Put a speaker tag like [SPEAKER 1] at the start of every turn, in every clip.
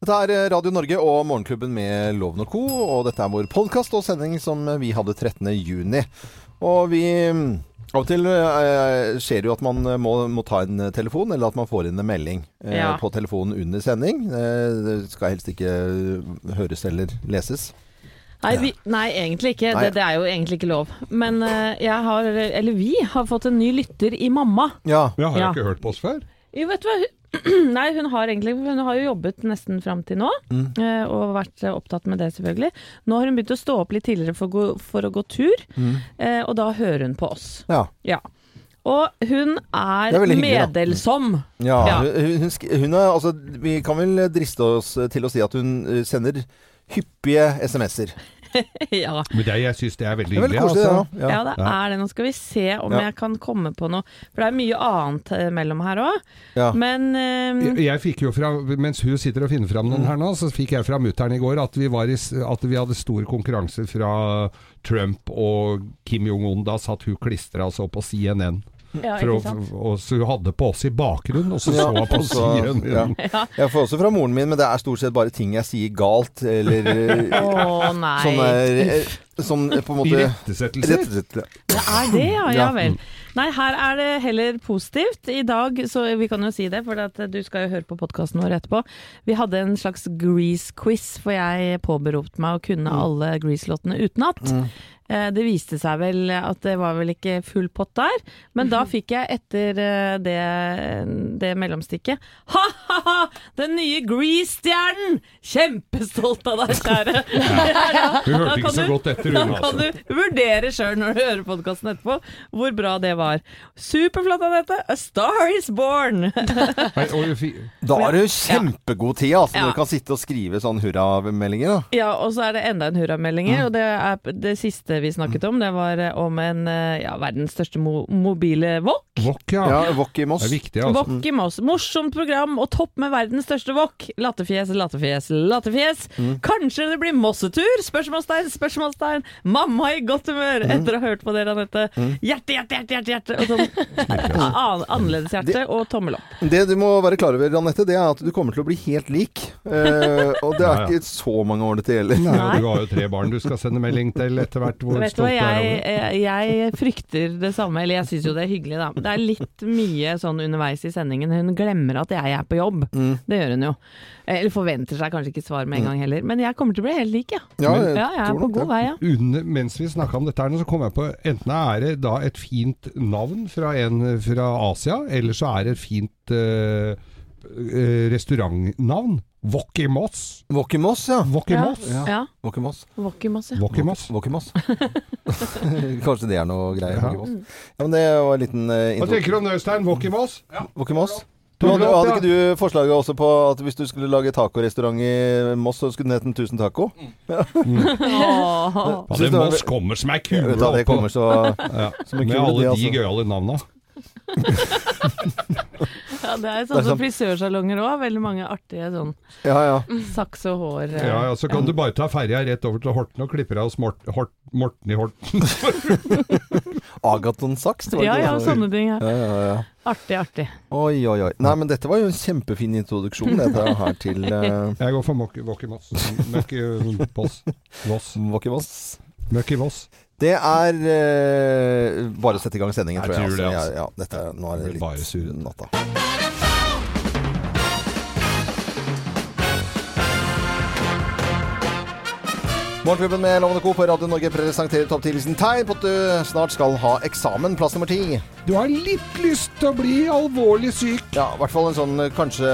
[SPEAKER 1] Dette er eh, Radio Norge og Morgenklubben med Loven og Co. Og dette er vår podkast og sending som vi hadde 13. juni. Og vi mm, av og til eh, skjer det jo at man må, må ta en eh, telefon, eller at man får inn en melding eh,
[SPEAKER 2] Ja.
[SPEAKER 1] på telefonen under sending. Eh, det skal helst ikke eh, høres eller leses.
[SPEAKER 2] Nei, vi, nei egentlig ikke.
[SPEAKER 1] Nei.
[SPEAKER 2] Det, det er jo egentlig ikke lov. Men eh, jeg har, eller vi har fått en ny lytter i mamma.
[SPEAKER 1] Ja.
[SPEAKER 3] Ja, har jeg
[SPEAKER 2] Ja.
[SPEAKER 3] ikke hørt på oss før?
[SPEAKER 2] Jo, vet du hva? Nei, hun har, egentlig, hun har jo jobbet nesten fram til nå,
[SPEAKER 1] Mm.
[SPEAKER 2] eh, og vært eh, opptatt med det selvfølgelig. Nå har hun begynt å stå opp litt tidligere for, å gå, for å gå tur,
[SPEAKER 1] Mm.
[SPEAKER 2] eh, og da hører hun på oss.
[SPEAKER 1] ja.
[SPEAKER 2] Ja. Og hun er,
[SPEAKER 1] Det er veldig hyggelig, da.
[SPEAKER 2] medelsom.
[SPEAKER 1] Ja,
[SPEAKER 2] Ja.
[SPEAKER 1] Hun, hun, sk- hun er, altså, vi kan vel driste oss til å si at hun eh, sender hyppige SMS-er.
[SPEAKER 2] ja.
[SPEAKER 3] Men det, jeg syns det er veldig
[SPEAKER 1] Det er veldig
[SPEAKER 3] hyggelig.
[SPEAKER 1] koselig,
[SPEAKER 3] altså.
[SPEAKER 1] det. Ja.
[SPEAKER 2] Ja, det
[SPEAKER 3] Ja.
[SPEAKER 2] er det. Nå skal vi se om
[SPEAKER 1] Ja.
[SPEAKER 2] jeg kan komme på noe. For det er mye annet eh, mellom her òg.
[SPEAKER 1] Ja.
[SPEAKER 2] Men eh,
[SPEAKER 3] Jeg, jeg fikk jo fra, Mens hun sitter og finner fram noen her nå, så fikk jeg fra mutter'n i går at vi, var i, s- at vi hadde stor konkurranse fra Trump og Kim Jong-un. Da satt hun klistra altså på CNN.
[SPEAKER 2] ja,
[SPEAKER 3] For å,
[SPEAKER 2] ikke sant?
[SPEAKER 3] og, så hun hadde på oss i bakgrunnen, og så
[SPEAKER 1] Ja,
[SPEAKER 3] så hun på
[SPEAKER 1] og så-
[SPEAKER 3] CNN.
[SPEAKER 1] ja. Jeg får også fra moren min, men det er stort sett bare ting jeg sier galt, eller eh,
[SPEAKER 2] Å nei.
[SPEAKER 1] sånne, eh, sånn eh, på en måte
[SPEAKER 3] Irettesettelser.
[SPEAKER 1] Rett- rett-
[SPEAKER 2] Det er det, ja. Ja
[SPEAKER 1] Ja.
[SPEAKER 2] vel. Nei, her er det heller positivt. I dag, så vi kan jo si det, for at du skal jo høre på podkasten vår etterpå. Vi hadde en slags Grease-quiz, for jeg påberopte meg å kunne alle Grease-låtene utenat. Eh, Det viste seg vel at det var vel ikke full pott der, men da fikk jeg etter eh, det, det mellomstikket Ha-ha-ha! Den nye Grease-stjernen! Kjempestolt av deg, kjære!
[SPEAKER 3] Hun hørte
[SPEAKER 2] Da
[SPEAKER 3] ikke
[SPEAKER 2] kan
[SPEAKER 3] så
[SPEAKER 2] du-
[SPEAKER 3] godt etter,
[SPEAKER 2] Da
[SPEAKER 3] hun.
[SPEAKER 2] kan
[SPEAKER 3] Altså.
[SPEAKER 2] du vurdere sjøl når du hører podkasten etterpå, hvor bra det var. Superflott, Anette! A star is born!
[SPEAKER 3] Nei, og hun fikk-
[SPEAKER 1] Da har du kjempegod tid, altså,
[SPEAKER 2] Ja.
[SPEAKER 1] når du kan sitte og skrive sånn hurrameldinger. da.
[SPEAKER 2] Ja, og så er det enda en hurrameldinger. Og det, er det siste vi snakket om, det var eh, om en eh, ja, verdens største mo mobile wok.
[SPEAKER 3] Wok, ja.
[SPEAKER 1] Ja, Wok i Moss.
[SPEAKER 3] Det er viktig, altså.
[SPEAKER 2] Wok i Moss. Morsomt program og topp med verdens største wok. Latterfjes, latterfjes, latterfjes. Kanskje det blir Mossetur? Spørsmålstegn, spørsmålstegn. Mamma i godt humør etter å ha hørt på dere, Anette. Hjerte, hjerte, hjerte, hjerte. hjerte. Og sånn an annerledeshjerte og tommel opp.
[SPEAKER 1] Det du må være klar over, Anette, det er at du kommer til å bli helt lik. Eh, og det er
[SPEAKER 3] Ja, ja.
[SPEAKER 1] ikke så mange år dette gjelder.
[SPEAKER 3] Nei, og Du har jo tre barn du skal sende melding til etter hvert. Hvor
[SPEAKER 2] Vet du hva,
[SPEAKER 3] stolt du er av
[SPEAKER 2] jeg,
[SPEAKER 3] det.
[SPEAKER 2] eh, jeg frykter det samme, eller jeg syns jo det er hyggelig, da. Det er litt mye sånn underveis i sendingen. Hun glemmer at jeg er på jobb.
[SPEAKER 1] Mm.
[SPEAKER 2] Det gjør hun jo. Eh, Eller forventer seg kanskje ikke svar med en gang heller. Men jeg kommer til å bli helt lik, ja.
[SPEAKER 1] Ja, Mm. jeg
[SPEAKER 2] Ja, jeg er
[SPEAKER 1] tror
[SPEAKER 2] på
[SPEAKER 1] nok det.
[SPEAKER 2] god vei, ja.
[SPEAKER 3] Under, mens vi snakka om dette, her nå, så kom jeg på enten er det da et fint navn fra en fra Asia, eller så er det et fint eh, eh, restaurantnavn. Wok i Moss.
[SPEAKER 1] Wok i Moss, ja.
[SPEAKER 3] Wok i
[SPEAKER 2] Ja.
[SPEAKER 3] Moss.
[SPEAKER 2] Ja.
[SPEAKER 1] Wok i Moss.
[SPEAKER 2] Wokimoss, ja.
[SPEAKER 3] Wok i Moss.
[SPEAKER 1] Wokimoss. Kanskje det er noe greier.
[SPEAKER 3] Ja.
[SPEAKER 1] Wokimoss. Ja, men det var en liten eh,
[SPEAKER 3] Hva
[SPEAKER 1] intro.
[SPEAKER 3] tenker du om det, Øystein? Wok i Moss?
[SPEAKER 1] Wokimoss. Du
[SPEAKER 3] Tommel
[SPEAKER 1] hadde, hadde
[SPEAKER 3] opp, ja.
[SPEAKER 1] ikke du forslaget også på at hvis du skulle lage tacorestaurant i Moss, så skulle den hete 1000 Taco?
[SPEAKER 2] Åh.
[SPEAKER 3] Ja,
[SPEAKER 1] Synes
[SPEAKER 3] det
[SPEAKER 1] det var-
[SPEAKER 3] Moss kommer som ei
[SPEAKER 1] Jeg
[SPEAKER 3] kule
[SPEAKER 1] vet da, det
[SPEAKER 3] oppå.
[SPEAKER 1] kommer så
[SPEAKER 3] Ja,
[SPEAKER 1] en
[SPEAKER 3] med
[SPEAKER 1] kule,
[SPEAKER 3] alle
[SPEAKER 1] det,
[SPEAKER 3] de
[SPEAKER 1] altså.
[SPEAKER 3] gøyale navna.
[SPEAKER 2] Ja, det er
[SPEAKER 1] Det
[SPEAKER 2] sånn
[SPEAKER 1] er
[SPEAKER 2] som
[SPEAKER 1] sant.
[SPEAKER 2] frisørsalonger òg. Veldig mange artige sånn
[SPEAKER 1] Ja, ja.
[SPEAKER 2] saks og hår. eh.
[SPEAKER 3] Ja, ja, så kan du bare ta ferja rett over til Horten og klippe deg hos Mort, Hort, Morten i Horten.
[SPEAKER 1] Agaton Saks, det var
[SPEAKER 2] ja,
[SPEAKER 1] ikke
[SPEAKER 2] ja,
[SPEAKER 1] det?
[SPEAKER 2] sånne ting. Ja.
[SPEAKER 1] Ja, ja, ja.
[SPEAKER 2] Artig, artig.
[SPEAKER 1] Oi, oi, oi. Nei, men dette var jo en kjempefin introduksjon, dette her til uh,
[SPEAKER 3] Jeg går for Mok- Wok i Moss. Møkk i Voss. Voss.
[SPEAKER 1] Wokimoss.
[SPEAKER 3] Møkk i Voss.
[SPEAKER 1] Det er eh, bare å sette i gang sendingen,
[SPEAKER 3] Jeg
[SPEAKER 1] tror jeg.
[SPEAKER 3] tror det,
[SPEAKER 1] altså.
[SPEAKER 3] altså.
[SPEAKER 1] Ja, ja, dette, er- nå er det
[SPEAKER 3] Det blir bare
[SPEAKER 1] litt
[SPEAKER 3] surrete.
[SPEAKER 1] natta. Morgenklubben med Lovende Co. på Radio Norge presenterer topp 10-listen tegn på at du snart skal ha eksamen. Plass nummer ti.
[SPEAKER 3] Du har litt lyst til å bli alvorlig syk.
[SPEAKER 1] Ja, i hvert fall en sånn eh, kanskje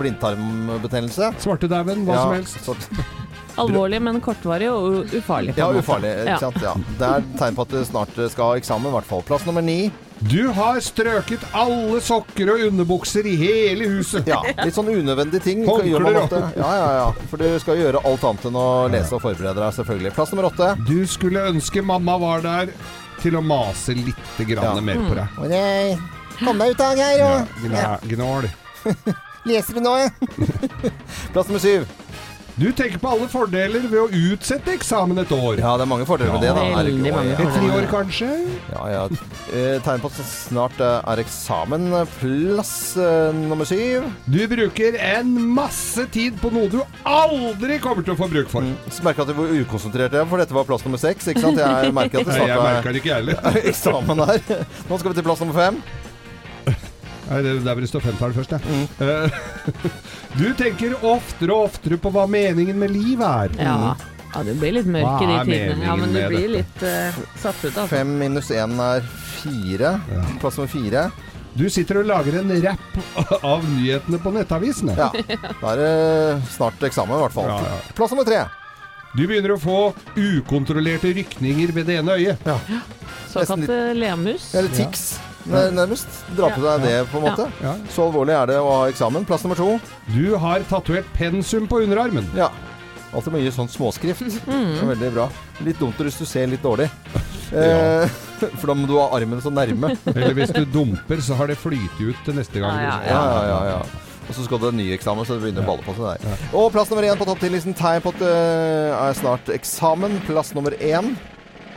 [SPEAKER 1] blindtarmbetennelse.
[SPEAKER 3] Svartedauden, hva
[SPEAKER 1] ja,
[SPEAKER 3] som helst.
[SPEAKER 1] sort-
[SPEAKER 2] Alvorlig, men kortvarig og u- ufarlig. på
[SPEAKER 1] ja,
[SPEAKER 2] en måte.
[SPEAKER 1] ufarlig.
[SPEAKER 2] Ja.
[SPEAKER 1] Ikke sant? Ja. Det er tegn på at du snart skal ha eksamen, i hvert fall. Plass nummer ni.
[SPEAKER 3] Du har strøket alle sokker og underbukser i hele huset.
[SPEAKER 1] Ja, litt sånn unødvendige ting
[SPEAKER 3] Håndklær,
[SPEAKER 1] gjør man
[SPEAKER 3] ja.
[SPEAKER 1] ofte. Ja, ja, ja. For du skal jo gjøre alt annet enn å lese og forberede deg, selvfølgelig. Plass nummer åtte.
[SPEAKER 3] Du skulle ønske mamma var der til å mase litt grann
[SPEAKER 1] Ja. Mm.
[SPEAKER 3] mer på deg.
[SPEAKER 1] Kom deg ut av her
[SPEAKER 3] Ja, gna- gnål.
[SPEAKER 1] leser du nå, Plass nummer syv.
[SPEAKER 3] Du tenker på alle fordeler ved å utsette eksamen et år.
[SPEAKER 1] Ja, det er mange fordeler med det. da.
[SPEAKER 2] Veldig
[SPEAKER 1] Herregud,
[SPEAKER 2] mange
[SPEAKER 1] ja.
[SPEAKER 3] I tre år, kanskje?
[SPEAKER 1] Ja, ja. Eh, Tegn på at snart eh, er eksamen. Plass eh, nummer syv.
[SPEAKER 3] Du bruker en masse tid på noe du aldri kommer til å få bruk for.
[SPEAKER 1] Mm. Så merker jeg at hvor ukonsentrert jeg er, for dette var plass nummer seks. Ikke sant? Jeg merker at det
[SPEAKER 3] Nei, jeg
[SPEAKER 1] snart
[SPEAKER 3] merker det ikke, jeg heller.
[SPEAKER 1] er eksamen her. Nå skal vi til plass nummer fem.
[SPEAKER 3] Nei, det- Der vil det stå femtall først, jeg. Eh, Du tenker oftere og oftere på hva meningen med liv er.
[SPEAKER 2] Ja. ja, du blir litt mørk i de
[SPEAKER 3] Mm. Hva er meningen
[SPEAKER 2] tidene. Ja, men du
[SPEAKER 3] med
[SPEAKER 2] blir litt eh, satt ut, altså.
[SPEAKER 1] Fem minus én er fire. Plass nummer fire.
[SPEAKER 3] Du sitter og lager en rapp av nyhetene på nettavisene.
[SPEAKER 1] Ja. Da er det snart eksamen, i hvert fall.
[SPEAKER 3] Ja, ja.
[SPEAKER 1] Plass nummer tre.
[SPEAKER 3] Du begynner å få ukontrollerte rykninger ved det ene øyet.
[SPEAKER 2] Såkalte lemus.
[SPEAKER 1] Eller tics, nær- nærmest. Dra på deg det, på en måte.
[SPEAKER 3] Ja.
[SPEAKER 1] Så alvorlig er det å ha eksamen. Plass nummer to.
[SPEAKER 3] Du har tatovert pensum på underarmen.
[SPEAKER 1] Ja. Alltid mye sånn småskrift. Det er Veldig bra. Litt dumt hvis du ser litt dårlig.
[SPEAKER 3] Ja.
[SPEAKER 1] Eh, for da må du ha armen så nærme.
[SPEAKER 3] Eller hvis du dumper, så har det flytet ut til neste gang.
[SPEAKER 2] Ja,
[SPEAKER 1] Ja, ja, ja, ja. Og så skal du ha ny eksamen, så det begynner å balle på seg der. Og plass nummer én på topp 10-listen. Tegn på at det er snart eksamen. Plass nummer én.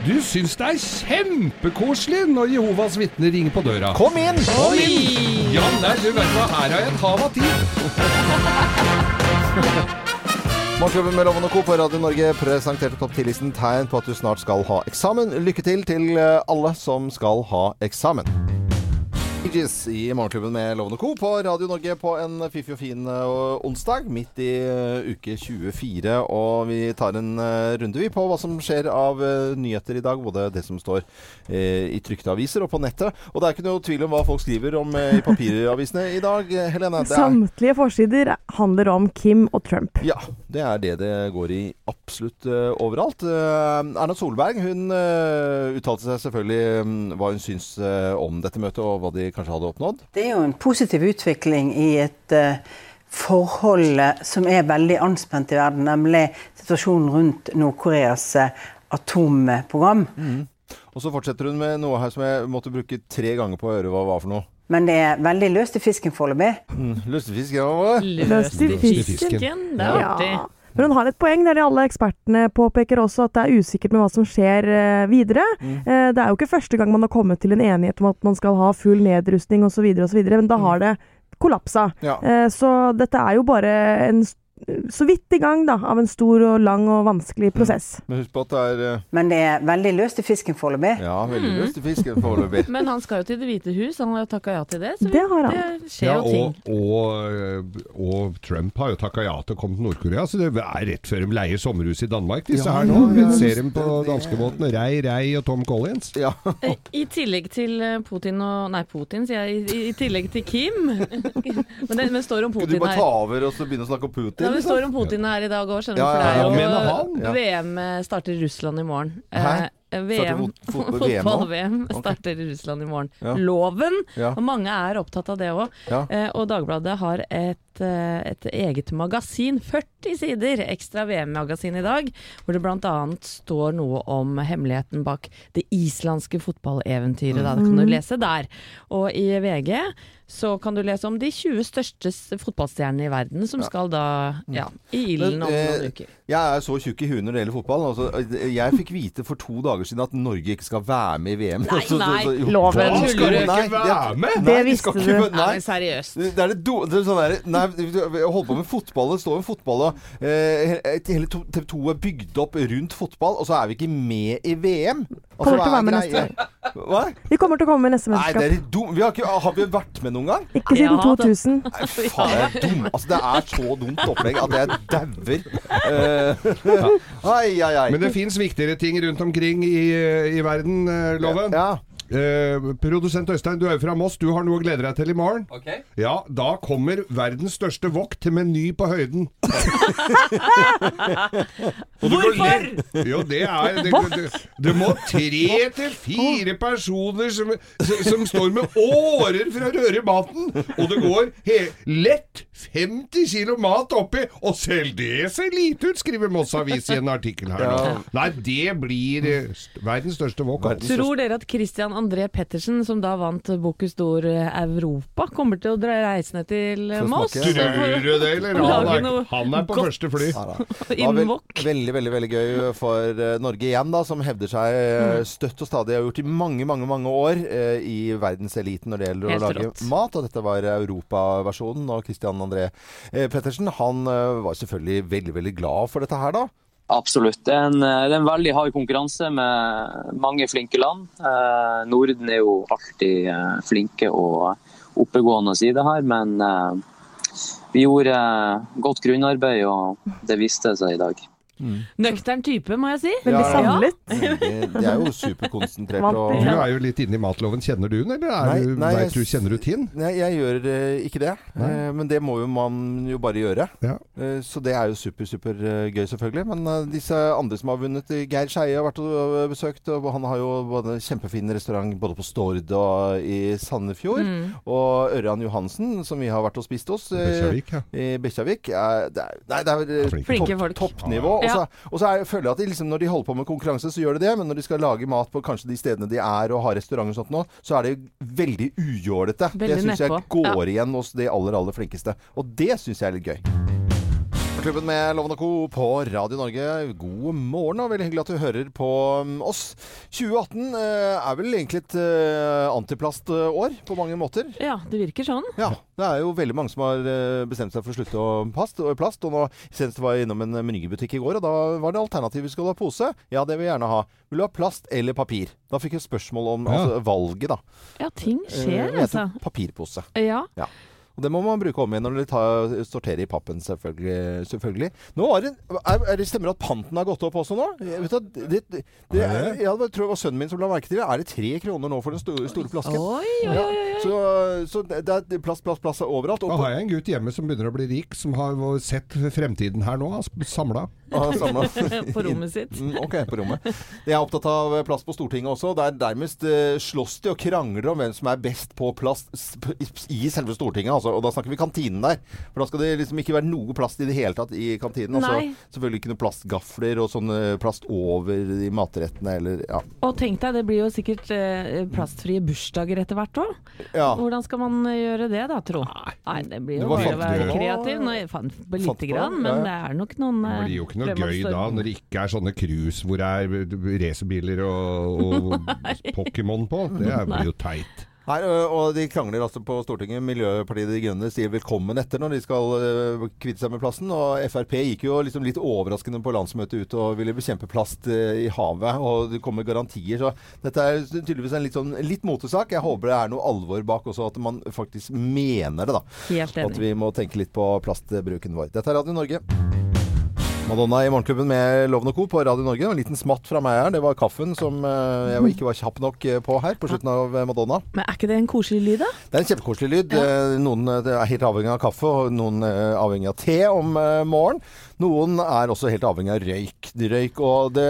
[SPEAKER 3] Du syns det er kjempekoselig når Jehovas vitner ringer på døra.
[SPEAKER 1] Kom inn!
[SPEAKER 3] Kom inn! Ja, nei, du vet hva, her har jeg et hav av tid.
[SPEAKER 1] Morgenklubben med Loven og Co. på Radio Norge presenterte topp 10-listen tegn på at du snart skal ha eksamen. Lykke til til eh, alle som skal ha eksamen. Ages I Morgenklubben med Loven og Co. på Radio Norge på en fiffig og fin eh, onsdag midt i eh, uke 24. Og vi tar en eh, runde vi på hva som skjer av eh, nyheter i dag. Både det som står eh, i trykte aviser og på nettet. Og det er ikke noe tvil om hva folk skriver om eh, i papiravisene i dag. Eh, Helene, det er
[SPEAKER 4] Samtlige forsider handler om Kim og Trump.
[SPEAKER 1] Ja, det er det det går i absolutt eh, overalt. Eh, Erna Solberg hun eh, uttalte seg selvfølgelig mm, hva hun syns eh, om dette møtet, og hva de kanskje hadde oppnådd.
[SPEAKER 5] Det er jo en positiv utvikling i et eh, forhold som er veldig anspent i verden, nemlig situasjonen rundt Nord-Koreas eh, atomprogram.
[SPEAKER 1] Og så fortsetter hun med noe her som jeg måtte bruke tre ganger på å høre hva var for noe.
[SPEAKER 5] Men det er veldig løst i fisken foreløpig.
[SPEAKER 1] Mm, Lustefisk, ja. hva var det?
[SPEAKER 2] Løst i fisken. Det er artig.
[SPEAKER 4] Ja. Men hun har et poeng der de alle ekspertene påpeker også at det er usikkert med hva som skjer eh, videre.
[SPEAKER 2] Mm.
[SPEAKER 4] Eh, det er jo ikke første gang man har kommet til en enighet om at man skal ha full nedrustning osv., videre,
[SPEAKER 2] Mm.
[SPEAKER 4] men da har det kollapsa.
[SPEAKER 1] Ja.
[SPEAKER 4] Eh, så dette er jo bare en s- så vidt i gang da, av en stor og lang og
[SPEAKER 2] Mm.
[SPEAKER 4] vanskelig prosess.
[SPEAKER 1] Men husk på at det er eh,
[SPEAKER 5] Men det er veldig løst i fisken foreløpig.
[SPEAKER 1] Ja, veldig
[SPEAKER 2] Mm.
[SPEAKER 1] lustefisk foreløpig.
[SPEAKER 2] Men han skal jo til Det hvite hus, han har jo takka ja til det. Så
[SPEAKER 4] Det har han.
[SPEAKER 2] det skjer jo ting.
[SPEAKER 3] og, og, og Trump har jo takka ja til å komme til Nord-Korea, så det er rett før de leier sommerhus i Danmark, disse
[SPEAKER 1] Ja,
[SPEAKER 3] her nå.
[SPEAKER 1] ja, ja.
[SPEAKER 3] Ser dem på danskebåten Rei Rei og Tom Collins.
[SPEAKER 1] Ja.
[SPEAKER 2] Eh, I tillegg til eh, Putin og Nei, Putin, sier jeg. I, i tillegg til Kim. men det men det står om
[SPEAKER 1] Skal du
[SPEAKER 2] Putin
[SPEAKER 1] bare ta
[SPEAKER 2] her.
[SPEAKER 1] over og så begynne å snakke om
[SPEAKER 2] Ja,
[SPEAKER 1] Putin?
[SPEAKER 2] det
[SPEAKER 1] liksom?
[SPEAKER 2] står om Putin her i dag òg, skjønner du.
[SPEAKER 1] Ja, ja, ja,
[SPEAKER 2] for det
[SPEAKER 3] ja,
[SPEAKER 2] er jo
[SPEAKER 3] men han,
[SPEAKER 2] VM eh, starter i Russland i morgen.
[SPEAKER 1] Hæ?
[SPEAKER 2] Eh,
[SPEAKER 1] Starter
[SPEAKER 2] VM,
[SPEAKER 1] fot- fotball- VM nå?
[SPEAKER 2] Fotball-VM starter i Russland i morgen.
[SPEAKER 1] Ja.
[SPEAKER 2] Loven!
[SPEAKER 1] Ja.
[SPEAKER 2] Og mange er opptatt av det òg.
[SPEAKER 1] Ja.
[SPEAKER 2] Eh, og Dagbladet har et, eh, et eget magasin, 40 sider ekstra VM-magasin i dag, hvor det bl.a. står noe om hemmeligheten bak det islandske fotballeventyret. da. Det kan du lese der. Og i VG så kan du lese om de 20 største s- fotballstjernene i verden, som skal da ja, i ilden
[SPEAKER 1] Men,
[SPEAKER 2] om noen
[SPEAKER 1] eh,
[SPEAKER 2] uker.
[SPEAKER 1] Jeg er så tjukk i huet når det gjelder fotball. Altså, jeg fikk vite for to dager siden at Norge ikke skal være med i VM.
[SPEAKER 2] Nei, nei,
[SPEAKER 1] jo.
[SPEAKER 2] loven.
[SPEAKER 1] Hva?
[SPEAKER 2] Tuller
[SPEAKER 1] Skal
[SPEAKER 2] du?
[SPEAKER 1] de- nei,
[SPEAKER 3] Være med?
[SPEAKER 1] Nei,
[SPEAKER 4] Det
[SPEAKER 1] de skal ikke
[SPEAKER 4] visste du.
[SPEAKER 1] være- Nei.
[SPEAKER 2] men seriøst.
[SPEAKER 1] Det er det do... Det er sånn der, nei, jeg holder på med fotball. Det står en fotball og eh, he- Hele TV 2 er bygd opp rundt fotball, og så er vi ikke med i VM.
[SPEAKER 4] Kommer til å
[SPEAKER 1] hva er
[SPEAKER 4] være med neste
[SPEAKER 1] greia? Hva?
[SPEAKER 4] Vi kommer til å komme med neste
[SPEAKER 1] Nei, det
[SPEAKER 4] mesterskap.
[SPEAKER 1] er dum. Vi har, ikke, har vi vært med noen gang?
[SPEAKER 4] Ikke
[SPEAKER 2] Ja,
[SPEAKER 4] siden
[SPEAKER 2] det-
[SPEAKER 4] 2000.
[SPEAKER 1] Nei, faen, jeg er dum. Altså, det er så dumt opplegg at jeg dauer. Eh, ai, ai, ai.
[SPEAKER 3] Men det fins viktigere ting rundt omkring i, i verden, eh, Loven.
[SPEAKER 1] ja.
[SPEAKER 3] Eh, produsent Øystein, du er jo fra Moss. Du har noe å glede deg til i morgen. Ja, Da kommer verdens største wok til meny på høyden.
[SPEAKER 2] Hvorfor?!
[SPEAKER 3] Jo, det er Det, det, det må tre til fire personer som, som står med årer for å røre maten. Og det går he, lett 50 kilo mat oppi, og selv det ser lite ut, skriver Moss Avis i en artikkel her. nå. Nei, det blir eh, st- verdens største wok.
[SPEAKER 1] Verdens
[SPEAKER 2] Tror dere at Christian André Pettersen, som da vant Bocus d'Or eh, Europa, kommer til å dra reise ned til eh,
[SPEAKER 1] For å
[SPEAKER 2] Moss.
[SPEAKER 1] smake.
[SPEAKER 2] og få-
[SPEAKER 3] Tror du det, eller? Han
[SPEAKER 2] Lage
[SPEAKER 3] er,
[SPEAKER 2] sånn- noe
[SPEAKER 3] han er på
[SPEAKER 2] godt.
[SPEAKER 3] første fly.
[SPEAKER 1] Ja, da.
[SPEAKER 2] Innen
[SPEAKER 1] vel-
[SPEAKER 2] wok.
[SPEAKER 1] veldig, veldig veldig gøy for eh, Norge igjen, da, som hevder seg eh,
[SPEAKER 2] Mm.
[SPEAKER 1] støtt og stadig. Har gjort i mange mange, mange år eh, i verdenseliten når det gjelder
[SPEAKER 2] Helt
[SPEAKER 1] å lage
[SPEAKER 2] rått.
[SPEAKER 1] mat. Og dette var europaversjonen. Og Christian André eh, Pettersen han eh, var selvfølgelig veldig veldig glad for dette her, da.
[SPEAKER 6] Absolutt. Det er, en, det er en veldig hard konkurranse med mange flinke land. Eh, Norden er jo alltid eh, flinke og oppegående i det her, men eh, vi gjorde eh, godt grunnarbeid, og det viste seg i dag.
[SPEAKER 2] Nøktern type, må jeg si.
[SPEAKER 1] Ja,
[SPEAKER 4] Veldig
[SPEAKER 1] ja.
[SPEAKER 4] samlet.
[SPEAKER 1] Veldig- Det er jo superkonsentrert.
[SPEAKER 4] Vant
[SPEAKER 1] og
[SPEAKER 4] det.
[SPEAKER 3] Du er jo litt inne i matloven. Kjenner du den, eller er
[SPEAKER 1] Nei,
[SPEAKER 3] du,
[SPEAKER 1] nei,
[SPEAKER 3] vet du,
[SPEAKER 1] jeg-
[SPEAKER 3] kjenner du til den?
[SPEAKER 1] Nei, jeg gjør eh, ikke det.
[SPEAKER 3] Nei.
[SPEAKER 1] Eh, men det må jo man jo bare gjøre.
[SPEAKER 3] Ja.
[SPEAKER 1] Eh, så det er jo super, super eh, gøy, selvfølgelig. Men eh, disse andre som har vunnet, eh, Geir Skeie har vært og og besøkt, og han har jo både kjempefin restaurant både på Stord og i Sandefjord. Og Ørjan Johansen, som vi har vært og spist hos. eh,
[SPEAKER 3] Bøkjavik, ja.
[SPEAKER 1] i Bekkjarvik. er- det er- Nei, det er eh,
[SPEAKER 3] Flinke
[SPEAKER 2] Flinke
[SPEAKER 1] topp,
[SPEAKER 2] folk.
[SPEAKER 1] toppnivå. Og så, og så er, føler jeg at de liksom, når de holder på med konkurranse, så gjør de det. Men når de skal lage mat på kanskje de stedene de er og har restauranter og sånt nå, så er det veldig ujålete. Det
[SPEAKER 2] Veldig
[SPEAKER 1] syns jeg
[SPEAKER 2] nedpå.
[SPEAKER 1] går igjen hos de aller, aller flinkeste. Og det syns jeg er litt gøy. Klubben med Loven og Co. på Radio Norge, god morgen og veldig hyggelig at du hører på mm, oss. 2018 eh, er vel egentlig et eh, antiplastår på mange måter.
[SPEAKER 2] Ja, det virker sånn.
[SPEAKER 1] Ja, det er jo veldig mange som har eh, bestemt seg for å slutte å plast, og plast. Og nå, senest var jeg innom en menybutikk i går, og da var det alternativet vi skulle ha pose. Ja, det vil jeg gjerne ha. Vil du ha plast eller papir? Da fikk jeg spørsmål om
[SPEAKER 3] Ja.
[SPEAKER 1] altså, valget, da.
[SPEAKER 2] Ja, ting
[SPEAKER 1] Eh,
[SPEAKER 2] skjer,
[SPEAKER 1] og jeg tok
[SPEAKER 2] altså.
[SPEAKER 1] Papirpose.
[SPEAKER 2] Ja.
[SPEAKER 1] Og det må man bruke om igjen når de tar, sorterer i pappen, selvfølgelig. selvfølgelig. Nå er det, er, er det stemmer det at panten har gått opp også nå? Jeg vet at det, det, det,
[SPEAKER 3] Er det?
[SPEAKER 1] jeg tror det var sønnen min som la merke til det. Er det tre kroner nå for den store, store
[SPEAKER 2] Oi,
[SPEAKER 1] flasken?
[SPEAKER 2] oi,
[SPEAKER 1] Ja,
[SPEAKER 2] oi. oi.
[SPEAKER 1] så, så det det er plast, plast, plast overalt.
[SPEAKER 3] Da
[SPEAKER 1] Og på-
[SPEAKER 3] har jeg en gutt hjemme som begynner å bli rik, som har sett fremtiden her nå, altså, samla.
[SPEAKER 1] og han samlet-
[SPEAKER 2] På rommet sitt.
[SPEAKER 1] Mm, Ok, på rommet. Jeg er opptatt av eh, plast på Stortinget også. Der nærmest eh, slåss de og krangler om hvem som er best på plast s- p- i selve Stortinget. Altså. Og da snakker vi kantinen der. For da skal det liksom ikke være noe plast i det hele tatt i kantinen. Og så
[SPEAKER 2] Nei.
[SPEAKER 1] selvfølgelig ikke noe plastgafler og sånn eh, plast over i matrettene eller Ja.
[SPEAKER 2] Og tenk deg, det blir jo sikkert eh, plastfrie bursdager etter hvert òg.
[SPEAKER 1] ja.
[SPEAKER 2] Hvordan skal man eh, gjøre det da, tro? Nei, det blir
[SPEAKER 1] Det
[SPEAKER 2] jo
[SPEAKER 1] var
[SPEAKER 2] bare å
[SPEAKER 1] sant,
[SPEAKER 2] være
[SPEAKER 1] det.
[SPEAKER 2] kreativ. Nå, jeg fant på
[SPEAKER 1] Fant
[SPEAKER 2] lite
[SPEAKER 1] på
[SPEAKER 2] grann,
[SPEAKER 1] det,
[SPEAKER 2] men
[SPEAKER 1] ja.
[SPEAKER 2] det er nok noen eh,
[SPEAKER 3] Det blir jo ikke noe gøy da, når det ikke er sånne cruise hvor det er eh, racerbiler og, og Pokémon på. Det er- blir jo teit.
[SPEAKER 1] Nei, ø, og de krangler altså på Stortinget. Miljøpartiet De Grønne sier velkommen etter når de skal ø, kvitte seg med plasten. Og Frp gikk jo liksom litt overraskende på landsmøtet ut og ville bekjempe plast ø, i havet. Og det kommer garantier. Så dette er tydeligvis en litt, sånn, litt motesak. Jeg håper det er noe alvor bak også, at man faktisk mener det, da.
[SPEAKER 2] Helt
[SPEAKER 1] At
[SPEAKER 2] enig.
[SPEAKER 1] vi må tenke litt på plastbruken vår. Dette er Radio Norge. Madonna i Morgenklubben med Loven og Co. på Radio Norge. En liten smatt fra meg her. Det var kaffen som ø, jeg ikke var kjapp nok ø, på her, på slutten av ø, Madonna.
[SPEAKER 2] Men er ikke det en koselig lyd, da?
[SPEAKER 1] Det er en kjempekoselig lyd. Eh, Noen eh, er helt avhengig av kaffe, og noen eh, avhengig av te om eh, morgenen. Noen er også helt avhengig av røyk. røyk og det,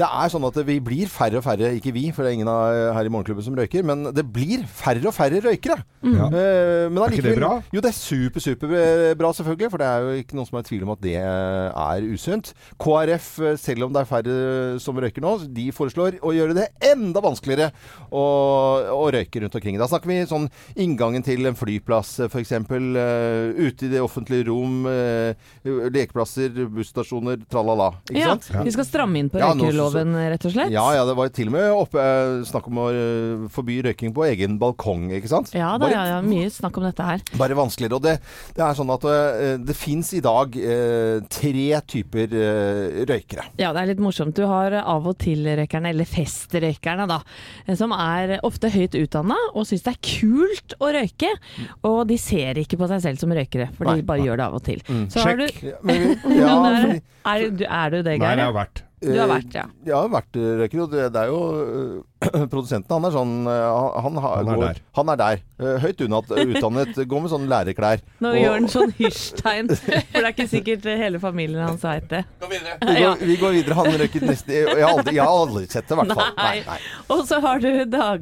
[SPEAKER 1] det er sånn at vi blir færre og færre, ikke vi, for det er ingen av eh, her i Morgenklubben som røyker, men det blir færre og færre røykere.
[SPEAKER 3] Mm. Ja.
[SPEAKER 1] Eh, men
[SPEAKER 3] ikke det
[SPEAKER 1] allikevel-
[SPEAKER 3] bra?
[SPEAKER 1] Jo, det er super, superbra selvfølgelig, for det er jo ikke noen som er i tvil om at det eh, er usunt. KrF, eh, selv om det er færre eh, som røyker nå, de foreslår å gjøre det enda vanskeligere å, å røyke rundt omkring. Da snakker vi sånn inngangen til en flyplass eh, f.eks. eh, Ute i det offentlige rom, eh, lekeplasser, busstasjoner, tralala. Ikke
[SPEAKER 2] Ja,
[SPEAKER 1] sant?
[SPEAKER 2] Vi skal stramme inn på
[SPEAKER 1] Ja, nå-
[SPEAKER 2] røykeloven, rett og slett.
[SPEAKER 1] Ja, ja, det var til og med oppe, eh, snakk om å eh, forby røyking på egen balkong, ikke sant?
[SPEAKER 2] Ja da,
[SPEAKER 1] Bare-
[SPEAKER 2] ja, ja, mye snakk om dette her.
[SPEAKER 1] Bare vanskeligere. Og det, det er sånn at eh, det fins i dag eh, tre typer eh, røykere.
[SPEAKER 2] Ja, det er litt morsomt. Du har av og til-røykerne, eller festrøykerne da, eh, som er ofte høyt utdanna og syns det er kult å røyke. Og de ser ikke på seg selv som røykere, for
[SPEAKER 1] Nei.
[SPEAKER 2] de bare gjør det av og til. Så har du-
[SPEAKER 1] Ja, men, ja,
[SPEAKER 2] Men
[SPEAKER 1] fordi,
[SPEAKER 2] er, er, du- er du det,
[SPEAKER 3] Nei,
[SPEAKER 2] Geir?
[SPEAKER 3] det har vært.
[SPEAKER 2] Du har
[SPEAKER 1] eh,
[SPEAKER 2] vært, ja.
[SPEAKER 1] Jeg har vært eh, røyker, og det, det er jo eh, Produsenten, han er sånn eh, Han, har-
[SPEAKER 3] Han er
[SPEAKER 1] går,
[SPEAKER 3] der.
[SPEAKER 1] Han er der. Eh, høyt unna, utdannet, går med sånne lærerklær.
[SPEAKER 2] Nå
[SPEAKER 1] Og-
[SPEAKER 2] gjør han sånn hysjtegn, for det er ikke sikkert hele familien hans veit det.
[SPEAKER 1] Vi
[SPEAKER 2] Ja.
[SPEAKER 1] går, vi går videre. Han røyker nesten Jeg har aldri, jeg har aldri sett det, i hvert fall. Nei, nei.
[SPEAKER 2] Og så har du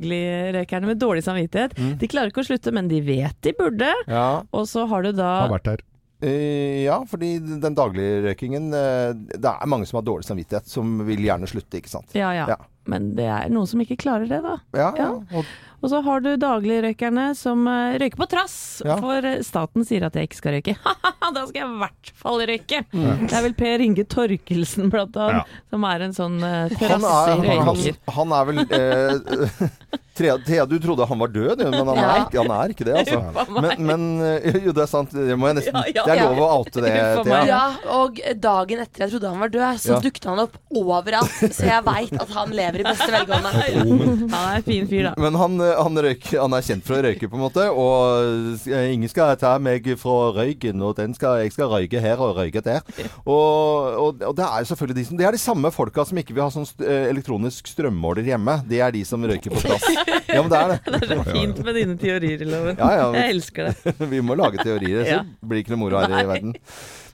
[SPEAKER 2] dagligrøykerne med dårlig samvittighet. De klarer ikke å slutte, men de vet de burde.
[SPEAKER 1] Ja.
[SPEAKER 2] Og så har du da
[SPEAKER 3] Har vært der.
[SPEAKER 1] Eh, ja, fordi den daglige røykingen eh, Det er mange som har dårlig samvittighet, som vil gjerne slutte, ikke sant.
[SPEAKER 2] Ja, ja.
[SPEAKER 1] Ja.
[SPEAKER 2] Men det er noen som ikke klarer det, da.
[SPEAKER 1] Ja, ja.
[SPEAKER 2] Ja.
[SPEAKER 1] Og,
[SPEAKER 2] Og så har du dagligrøykerne som eh, røyker på trass,
[SPEAKER 1] Ja.
[SPEAKER 2] for eh, staten sier at jeg ikke skal røyke. da skal jeg i hvert fall røyke!
[SPEAKER 1] Mm.
[SPEAKER 2] Det er vel Per Inge Torkelsen blant annet, som er en sånn eh,
[SPEAKER 1] han, er, han,
[SPEAKER 2] trassig røyker.
[SPEAKER 1] han er vel eh, Thea, Thea, du trodde han var død, du, men han er,
[SPEAKER 2] Ja.
[SPEAKER 1] ikke- han er ikke det, altså.
[SPEAKER 2] Uffa meg.
[SPEAKER 1] Men, men eh, Jo, det er sant. Det, må jeg nesten,
[SPEAKER 2] Ja, ja,
[SPEAKER 1] det er
[SPEAKER 7] ja.
[SPEAKER 1] lov å oute det,
[SPEAKER 2] Uffa
[SPEAKER 1] Thea.
[SPEAKER 2] meg.
[SPEAKER 7] Ja, og dagen etter jeg trodde han var død, så
[SPEAKER 1] Ja.
[SPEAKER 7] dukket han opp overalt. Så jeg veit at han lever i beste velgående.
[SPEAKER 2] Han er en fin fyr, da.
[SPEAKER 1] Men han, eh, han, røyker, han er kjent for å røyke, på en måte. Og eh, ingen skal ta meg fra røyken, og den skal, jeg skal røyke her og røyke der. Og, og, og det er jo selvfølgelig de som Det er de samme folka som ikke vil ha sånn st- eh, elektronisk strømmåler hjemme. Det er de som røyker på plass. Ja, men det er det.
[SPEAKER 2] Det er så fint med dine teorier, Loven.
[SPEAKER 1] Ja, ja.
[SPEAKER 2] Jeg elsker det.
[SPEAKER 1] Vi må lage teorier,
[SPEAKER 2] Ja.
[SPEAKER 1] så blir det ikke noe moro her i verden.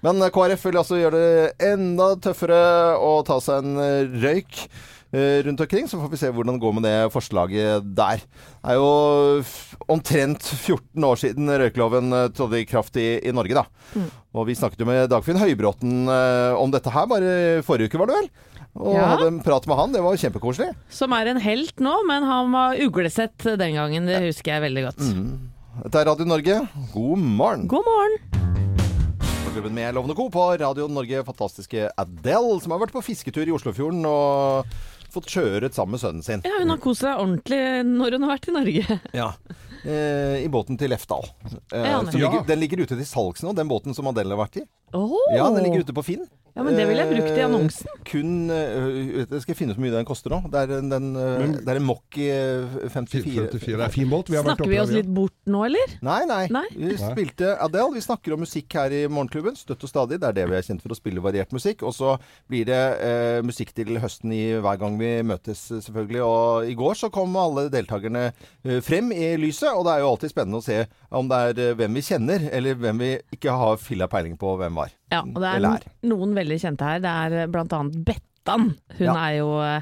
[SPEAKER 1] Men eh, KrF vil altså gjøre det enda tøffere å ta seg en eh, røyk eh, rundt omkring. Så får vi se hvordan det går med det forslaget der. Det er jo f- omtrent 14 år siden røykeloven eh, trådte i kraft i, i Norge, da.
[SPEAKER 2] Mm.
[SPEAKER 1] Og vi snakket jo med Dagfinn Høybråten eh, om dette her bare forrige uke, var det vel? Og
[SPEAKER 2] Ja.
[SPEAKER 1] hadde en prat med han. Det var jo kjempekoselig.
[SPEAKER 2] Som er en helt nå, men han var uglesett den gangen. Det husker jeg veldig godt.
[SPEAKER 1] Mm. Dette er Radio Norge. God morgen.
[SPEAKER 2] God morgen!
[SPEAKER 1] Morgenklubben med Lovende Co. på Radio Norge. Fantastiske Adele, som har vært på fisketur i Oslofjorden og fått kjøret sammen med sønnen sin.
[SPEAKER 2] Ja, hun har kost seg ordentlig når hun har vært i Norge.
[SPEAKER 1] Eh, I båten til Lefdal. Eh,
[SPEAKER 2] Ja,
[SPEAKER 1] som
[SPEAKER 2] men-
[SPEAKER 1] ligger, den ligger ute til salgs nå, den båten som Adele har vært i.
[SPEAKER 2] Oh.
[SPEAKER 1] Ja, den ligger ute på Finn.
[SPEAKER 2] Ja, men det ville jeg brukt i
[SPEAKER 1] Eh,
[SPEAKER 2] annonsen.
[SPEAKER 1] Kun eh, Jeg skal finne ut hvor mye den koster nå. Det er en, den, eh, det er en Mocky eh, 54
[SPEAKER 3] 54. Det er fin båt. Vi har vært
[SPEAKER 2] Snakker vi
[SPEAKER 3] oppe
[SPEAKER 2] oss
[SPEAKER 3] der.
[SPEAKER 2] litt bort nå, eller?
[SPEAKER 1] Nei, nei.
[SPEAKER 2] Nei.
[SPEAKER 1] Vi spilte Adele. Vi snakker om musikk her i Morgenklubben. Støtt og stadig. Det er det vi er kjent for, å spille variert musikk. Og så blir det eh, musikk til høsten i hver gang vi møtes, eh, selvfølgelig. Og i går så kom alle deltakerne eh, frem i lyset, og det er jo alltid spennende å se om det er eh, hvem vi kjenner, eller hvem vi ikke har filla peiling på hvem var.
[SPEAKER 2] Ja, og det er
[SPEAKER 1] Eller er.
[SPEAKER 2] noen veldig kjente her. Det er eh, blant annet Bettan. Hun
[SPEAKER 1] Ja.
[SPEAKER 2] er jo eh,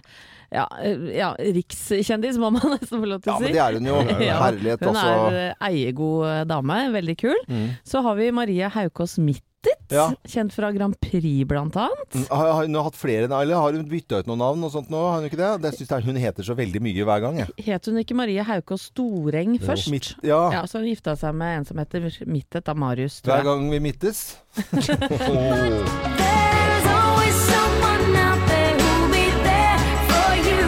[SPEAKER 2] ja, eh, ja, rikskjendis, må man nesten få lov til
[SPEAKER 1] Ja,
[SPEAKER 2] å si.
[SPEAKER 1] men det er hun jo.
[SPEAKER 2] Ja,
[SPEAKER 1] Herlighet,
[SPEAKER 2] Hun er
[SPEAKER 1] altså.
[SPEAKER 2] eh, eiegod eh, dame, veldig kul. Så har vi Maria Haukås Mittet,
[SPEAKER 1] Ja.
[SPEAKER 2] kjent fra Grand Prix blant annet.
[SPEAKER 1] Mm, Har har hun hatt flere navn, eller har hun bytta ut noen navn og sånt nå? Har hun ikke det? det synes jeg hun heter så veldig mye hver gang, jeg.
[SPEAKER 2] Het hun ikke Maria Haukås Storeng først?
[SPEAKER 1] Mitt, ja.
[SPEAKER 2] Ja, så hun gifta seg med en som heter Mittet av Marius,
[SPEAKER 1] Hver
[SPEAKER 2] tror jeg.
[SPEAKER 1] gang vi midtes.
[SPEAKER 8] There's always someone out there who'll be there for you.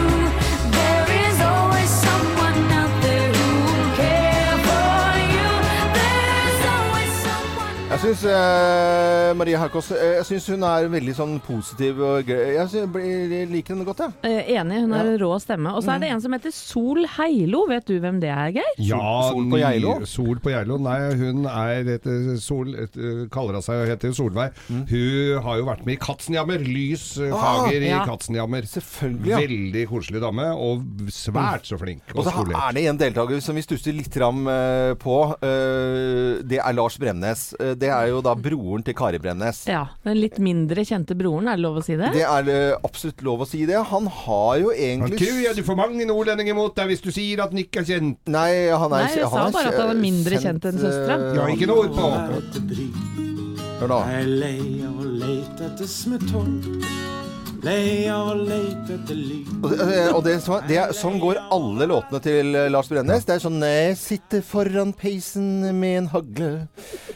[SPEAKER 8] There is always someone out there who will care for you. There's always someone.
[SPEAKER 1] Jeg syns eh, Marie Haukås eh, Jeg synes hun er veldig sånn positiv og gøy. Jeg, synes, jeg blir- jeg liker henne godt, jeg.
[SPEAKER 2] Eh, Enig, hun har en rå stemme. Og så
[SPEAKER 1] Mm.
[SPEAKER 2] er det en som heter Sol Heilo, vet du hvem det er, Geir?
[SPEAKER 3] Ja,
[SPEAKER 1] Sol på Geilo?
[SPEAKER 3] ny- Sol på Geilo. Nei, hun er et, eh, sol, et, eh, kaller hun seg og heter Solveig. Hun har jo vært med i Katzenjammer. Lys eh,
[SPEAKER 1] Mm. Ah,
[SPEAKER 3] fager
[SPEAKER 2] ja.
[SPEAKER 3] i Katzenjammer.
[SPEAKER 1] Selvfølgelig, ja. Mm.
[SPEAKER 3] Veldig koselig dame, og svært så flink.
[SPEAKER 1] Og
[SPEAKER 3] Og
[SPEAKER 1] så er
[SPEAKER 3] skolert.
[SPEAKER 1] det en deltaker som vi stusser litt fram eh, på. Eh, det er Lars Bremnes. Eh, Det er jo da broren til Kari Bremnes.
[SPEAKER 2] Ja, den litt mindre kjente broren, er det lov å si det?
[SPEAKER 1] Det er eh, absolutt lov å si det. Han har jo
[SPEAKER 3] Han
[SPEAKER 1] egentlig
[SPEAKER 3] tror jeg du får mange nordlendinger mot deg hvis du sier at den ikke er kjent.
[SPEAKER 1] Nei, han er eh,
[SPEAKER 2] Nei, jeg sa bare at han er mindre kjent enn søstera.
[SPEAKER 3] Jeg har ikke noe ord på.
[SPEAKER 9] etter bry.
[SPEAKER 1] Hør da.
[SPEAKER 9] Jeg er lei av å leite etter smutthår. Lei av å leite etter lyd.
[SPEAKER 1] Og det, eh, og det, som er- det er, sånn går alle låtene til eh, Lars Brennes. Det er sånn Jeg sitter foran peisen med en hagle.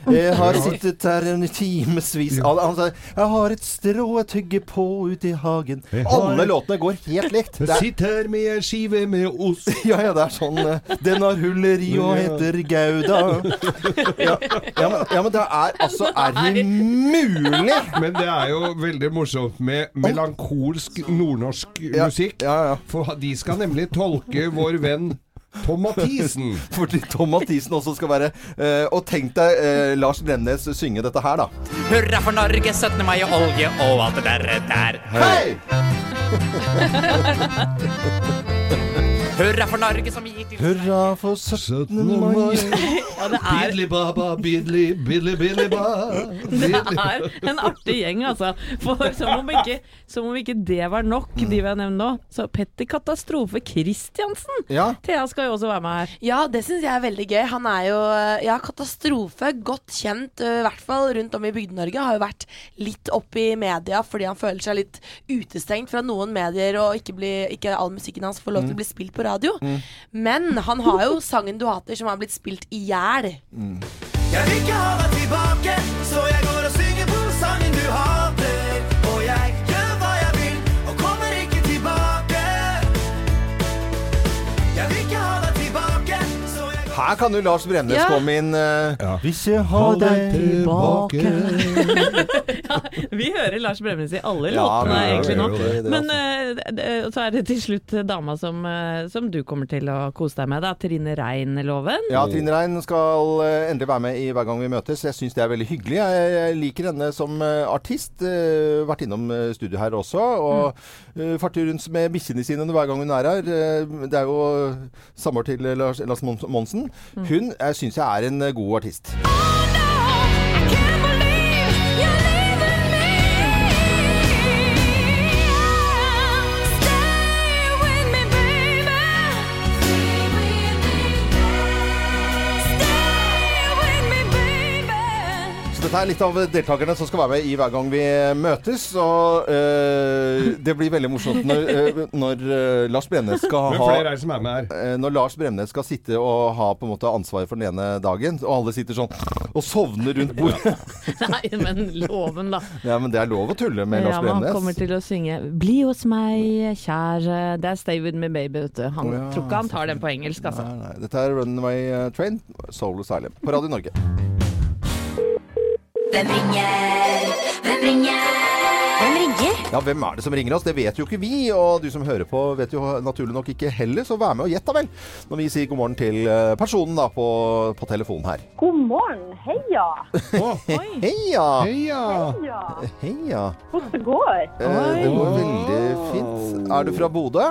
[SPEAKER 1] Jeg har sittet der en timevis. Han han sa Jeg har et strå jeg tygger på ute i hagen. Alle låtene går helt likt. Det er,
[SPEAKER 3] Sitt her med ei skive med ost.
[SPEAKER 1] ja, ja, det er sånn eh, Den har huller i og heter Gouda. Ja, ja, men, ja, men det er altså Er det mulig?
[SPEAKER 3] Men det er jo veldig morsomt med melankolsk nordnorsk
[SPEAKER 1] Ja,
[SPEAKER 3] musikk.
[SPEAKER 1] ja, ja.
[SPEAKER 3] For de skal nemlig tolke vår venn Tom Mathisen.
[SPEAKER 1] Fordi Tom Mathisen også skal være eh, Og tenk deg eh, Lars Brennes synge dette her, da.
[SPEAKER 10] Hurra for Norge, 17. mai og olje og alt det der. der.
[SPEAKER 1] Hei!
[SPEAKER 10] Hurra for Norge som gir til
[SPEAKER 1] Hurra for 17. mai.
[SPEAKER 11] Bidli baba, bidli, bidli, bidli ba.
[SPEAKER 2] Det er en artig gjeng, altså. For som om ikke, som om ikke det var nok, de vi har nevnt nå. Så Petter Katastrofe Christiansen! Thea skal jo også være med her.
[SPEAKER 7] Ja, det syns jeg er veldig gøy. Han er jo eh, ja, katastrofe, godt kjent, eh, i hvert fall rundt om i Bygde-Norge. Har jo vært litt opp i media fordi han føler seg litt utestengt fra noen medier, og ikke, bli, ikke all musikken hans får lov til å bli spilt på radio. Men han har jo sangen du hater, som har blitt spilt i hjel.
[SPEAKER 8] Jeg vil ikke ha deg tilbake, så jeg går og synger på sangen du hater. Og jeg gjør hva jeg vil, og kommer ikke tilbake. Jeg vil ikke ha deg tilbake, så jeg
[SPEAKER 1] Her kan jo Lars Bremnes
[SPEAKER 8] Ja.
[SPEAKER 1] komme inn. eh, Hvis jeg har deg tilbake
[SPEAKER 2] Vi hører Lars Bremnes i alle
[SPEAKER 1] Ja,
[SPEAKER 2] låtene
[SPEAKER 1] vi
[SPEAKER 2] egentlig nå.
[SPEAKER 1] gjør jo det, altså. det
[SPEAKER 2] Men eh, d- d- så er det til slutt dama som, eh, som du kommer til å kose deg med, da. Trine Rein-loven.
[SPEAKER 1] Ja, Trine Rein skal eh, endelig være med i Hver gang vi møtes. Jeg syns det er veldig hyggelig. Jeg, jeg liker henne som eh, artist. eh, vært innom eh, studio her også. Og
[SPEAKER 2] Mm.
[SPEAKER 1] eh, farter rundt med bikkjene sine hver gang hun er her. Eh, det er jo samboer til eh, Lars, Lars Mon- Monsen.
[SPEAKER 2] Mm.
[SPEAKER 1] Hun uh, syns jeg er en eh, god artist. Så dette er litt av deltakerne som skal være med i Hver gang vi møtes. Og eh, det blir veldig morsomt når, eh, når eh, Lars Bremnes skal
[SPEAKER 3] Men
[SPEAKER 1] ha
[SPEAKER 3] flere er det som er med her.
[SPEAKER 1] Eh, Når Lars Bremnes skal sitte og ha på en måte ansvaret for den ene dagen, og alle sitter sånn og sovner rundt bordet
[SPEAKER 2] Nei, men loven, da.
[SPEAKER 1] Ja, men det er lov å tulle med
[SPEAKER 2] Ja,
[SPEAKER 1] Lars
[SPEAKER 2] men han kommer
[SPEAKER 1] Bremnes.
[SPEAKER 2] til å synge 'Bli hos meg, kjære'. Det er 'Stay with me, baby', vet du. Han,
[SPEAKER 1] Å, ja,
[SPEAKER 2] tror ikke han tar den på engelsk, altså.
[SPEAKER 1] Nei, nei, Dette er Runaway eh, Train, Soul Asylum, på Radio Norge.
[SPEAKER 8] Hvem ringer? Hvem ringer? Hvem ringer?
[SPEAKER 1] Ja, hvem er det som ringer oss? Det vet jo ikke vi, og du som hører på vet jo naturlig nok ikke heller, så vær med og gjett da vel, når vi sier god morgen til eh, personen da på, på telefonen her.
[SPEAKER 12] God morgen, heia!
[SPEAKER 1] Heia!
[SPEAKER 12] Heia!
[SPEAKER 1] Heia!
[SPEAKER 12] Hvordan det går?
[SPEAKER 1] Eh, Det går veldig fint. Er du fra Bodø?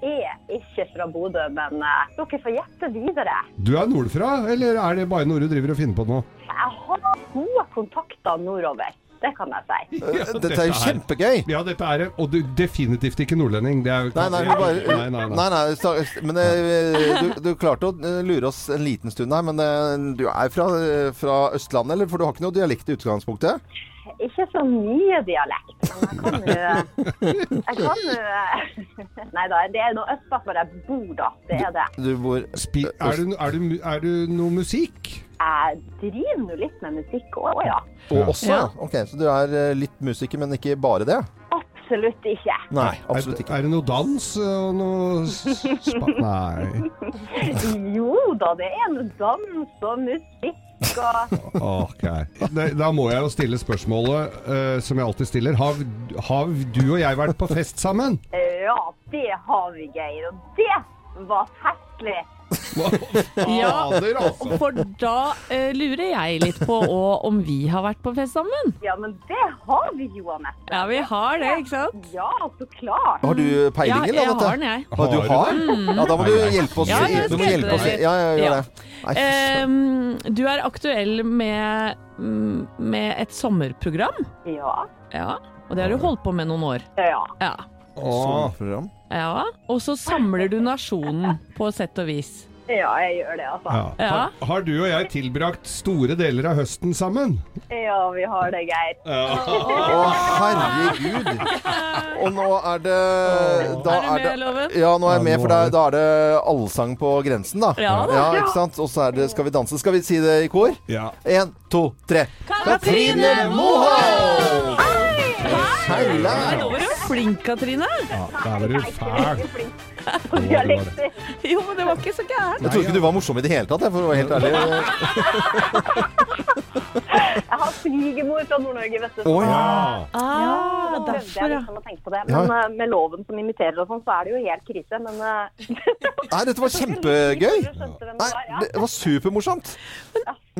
[SPEAKER 12] Jeg er ikke fra Bodø, men eh, dere får gjette videre.
[SPEAKER 3] Du er nordfra, eller er det bare noe du driver og finner på nå?
[SPEAKER 12] Jeg har gode kontakter nordover, det kan jeg si.
[SPEAKER 1] Eh, dette er jo kjempegøy!
[SPEAKER 3] Ja, dette er det. Og du definitivt ikke nordlending. Det er jo
[SPEAKER 1] Nei, nei, vi bare,
[SPEAKER 3] nei, nei, nei.
[SPEAKER 1] nei, nei, sta- men eh, du, du klarte å eh, lure oss en liten stund her, men eh, du er fra, eh, fra Østlandet, eller? For du har ikke noe dialekt i utgangspunktet?
[SPEAKER 12] Ikke så mye dialekt, men jeg kan jo Jeg kan jo Nei da, det er noe østpå hvor jeg bor, da. Det er det.
[SPEAKER 1] Du bor
[SPEAKER 3] Spi er, du, er, du, mu- er du noe musikk?
[SPEAKER 12] Jeg driver nå litt med musikk òg, ja.
[SPEAKER 1] Og også? Ja. Ok, så du er eh, litt musiker, men ikke bare det?
[SPEAKER 12] Absolutt ikke.
[SPEAKER 1] Nei, absolutt ikke.
[SPEAKER 3] Er det noe dans og noe s- spa... Nei.
[SPEAKER 12] Jo da, det er noe dans og musikk og
[SPEAKER 3] Ok. Da, da må jeg jo stille spørsmålet eh, som jeg alltid stiller. Har, har du og jeg vært på fest sammen?
[SPEAKER 12] Ja, det har vi, Geir. Og det var festlig.
[SPEAKER 3] Fader, altså.
[SPEAKER 2] for da eh, lurer jeg litt på og, om vi har vært på fest sammen.
[SPEAKER 12] Ja, men det har vi jo, Anette.
[SPEAKER 2] Ja, vi har det, ikke sant?
[SPEAKER 12] Ja, så klart.
[SPEAKER 1] Har du peiling,
[SPEAKER 2] Ja,
[SPEAKER 1] eller?
[SPEAKER 2] jeg
[SPEAKER 1] dette?
[SPEAKER 2] har den, jeg.
[SPEAKER 1] Ah, du har? Ja, da må du hjelpe oss.
[SPEAKER 2] Ja, jeg
[SPEAKER 1] du
[SPEAKER 2] skal
[SPEAKER 1] må
[SPEAKER 2] hjelpe
[SPEAKER 1] hjelpe oss.
[SPEAKER 2] deg litt.
[SPEAKER 1] Ja, ja, gjør
[SPEAKER 2] Ja.
[SPEAKER 1] det. Nei, fy søren.
[SPEAKER 2] Ehm, du er aktuell med, mm, med et sommerprogram.
[SPEAKER 12] Ja.
[SPEAKER 2] Ja, og det har du holdt på med noen år.
[SPEAKER 12] Ja.
[SPEAKER 2] Ja.
[SPEAKER 1] Sånn program.
[SPEAKER 2] ja. Og så samler du nasjonen, på sett og vis.
[SPEAKER 12] ja, jeg gjør det, altså.
[SPEAKER 3] Ja. Har, har du og jeg tilbrakt store deler av høsten sammen?
[SPEAKER 12] Ja, vi har det, Geir.
[SPEAKER 1] Å, herregud! Og nå er det da
[SPEAKER 2] Er du med, Loven?
[SPEAKER 1] Ja, nå er jeg med, for da, da er det allsang på grensen, da.
[SPEAKER 2] Ja da.
[SPEAKER 1] ikke sant? Og så er det Skal vi danse? Skal vi si det i kor?
[SPEAKER 3] Ja.
[SPEAKER 1] Én, to, tre. Katrine Moholt! Hei!
[SPEAKER 2] Nå var du flink, Katrine.
[SPEAKER 3] Ja, der var du fæl.
[SPEAKER 12] Dialekter.
[SPEAKER 2] Jo, men det var ikke så gærent.
[SPEAKER 1] Jeg tror ikke du var morsom i det hele tatt, jeg, for å være helt ærlig.
[SPEAKER 12] Jeg har svigermor fra Nord-Norge, vet du.
[SPEAKER 1] Å, ja.
[SPEAKER 2] Ah,
[SPEAKER 12] Nå prøvde
[SPEAKER 2] derfor,
[SPEAKER 12] jeg
[SPEAKER 2] ja.
[SPEAKER 12] liksom å tenke på det.
[SPEAKER 1] Ja.
[SPEAKER 12] Men eh, med loven som imiterer og sånn, så er det jo helt krise. Men eh,
[SPEAKER 1] Nei, dette var kjempegøy.
[SPEAKER 12] skjønte hvem det
[SPEAKER 1] Nei,
[SPEAKER 12] var, ja.
[SPEAKER 1] det var supermorsomt.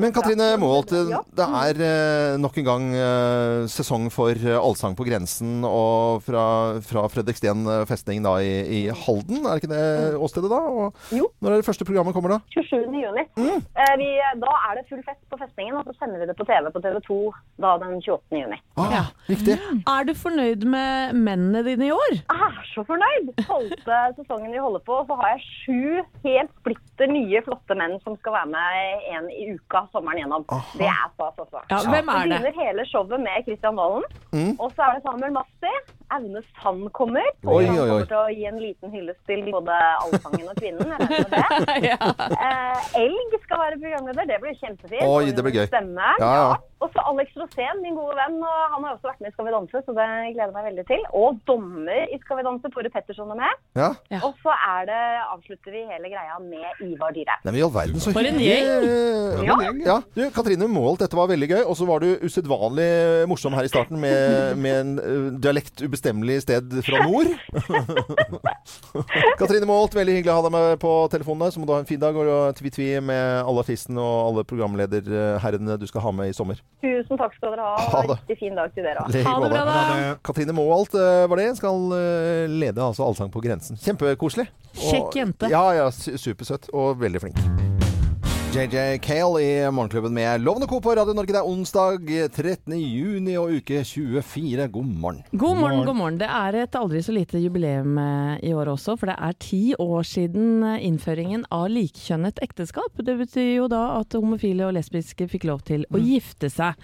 [SPEAKER 1] Men Katrine Moholt, det er eh, nok en gang eh, sesong for eh, Allsang på grensen og fra, fra Fredriksten eh, festning da i, i Halden. Er ikke det
[SPEAKER 12] Mm.
[SPEAKER 1] åstedet da? Og Når er det første programmet kommer da?
[SPEAKER 12] 27. juni. Eh, vi, da er det full fest på festningen, og så sender vi det på TV på TV 2 da den 28. juni.
[SPEAKER 1] ja. Riktig.
[SPEAKER 12] Mm.
[SPEAKER 2] Er du fornøyd med mennene dine i år?
[SPEAKER 12] Jeg er så fornøyd! Tolvte sesongen vi holder på, og så har jeg sju helt splitter nye flotte menn som skal være med en i uka sommeren gjennom. Det er stas også.
[SPEAKER 2] Ja, hvem er
[SPEAKER 12] Vi
[SPEAKER 2] det?
[SPEAKER 12] begynner hele showet med Kristian Valen.
[SPEAKER 1] Mm.
[SPEAKER 12] Og så er det Samuel Massi. Aune Sand kommer.
[SPEAKER 1] Oi,
[SPEAKER 12] Han
[SPEAKER 1] oi, oi.
[SPEAKER 12] kommer til å gi en liten hyllest til både allsangen og kvinnen. Jeg regner med det. Eh, Elg skal være programleder. Det blir kjempefint.
[SPEAKER 1] Oi, det blir gøy.
[SPEAKER 12] Stemme.
[SPEAKER 1] Ja, ja.
[SPEAKER 12] Og så Alex Rosén, min gode venn. og Han har også vært med i Skal vi danse, så det gleder jeg meg veldig til. Og dommer i Skal vi danse, Tore Petterson er med.
[SPEAKER 1] Ja.
[SPEAKER 12] Og så er det, avslutter vi hele greia med Ivar Dyrhaug.
[SPEAKER 1] Nei, men i all verden, så
[SPEAKER 12] For en
[SPEAKER 1] hyggelig.
[SPEAKER 12] gjeng. For
[SPEAKER 1] Ja.
[SPEAKER 12] en gjeng,
[SPEAKER 1] ja. Du, Katrine Målt, dette var veldig gøy. Og så var du usedvanlig morsom her i starten med, med en eh, dialekt ubestemmelig sted fra nord. Katrine Målt, veldig hyggelig å ha deg med på telefonen. der. Så må du ha en fin dag og tvi-tvi med alle artistene og alle programlederherrene du skal ha med i sommer.
[SPEAKER 12] Tusen takk skal dere ha,
[SPEAKER 1] Ha
[SPEAKER 12] og en
[SPEAKER 1] det.
[SPEAKER 12] riktig fin dag til dere
[SPEAKER 1] I
[SPEAKER 12] òg.
[SPEAKER 1] like måte. Katrine Målt eh, var det. Skal eh, lede altså Allsang på grensen. Kjempekoselig. Og-
[SPEAKER 2] Kjekk jente.
[SPEAKER 1] Ja, ja. su- Supersøt og veldig flink. JJ Cale i Morgenklubben med Lovende Co på Radio Norge. Det er onsdag 13. juni og uke 24. God morgen.
[SPEAKER 2] God morgen, god morgen. Det er et aldri så lite jubileum eh, i år også, for det er ti år siden eh, innføringen av likkjønnet ekteskap. Det betyr jo da at homofile og lesbiske fikk lov til
[SPEAKER 1] Mm.
[SPEAKER 2] å gifte seg.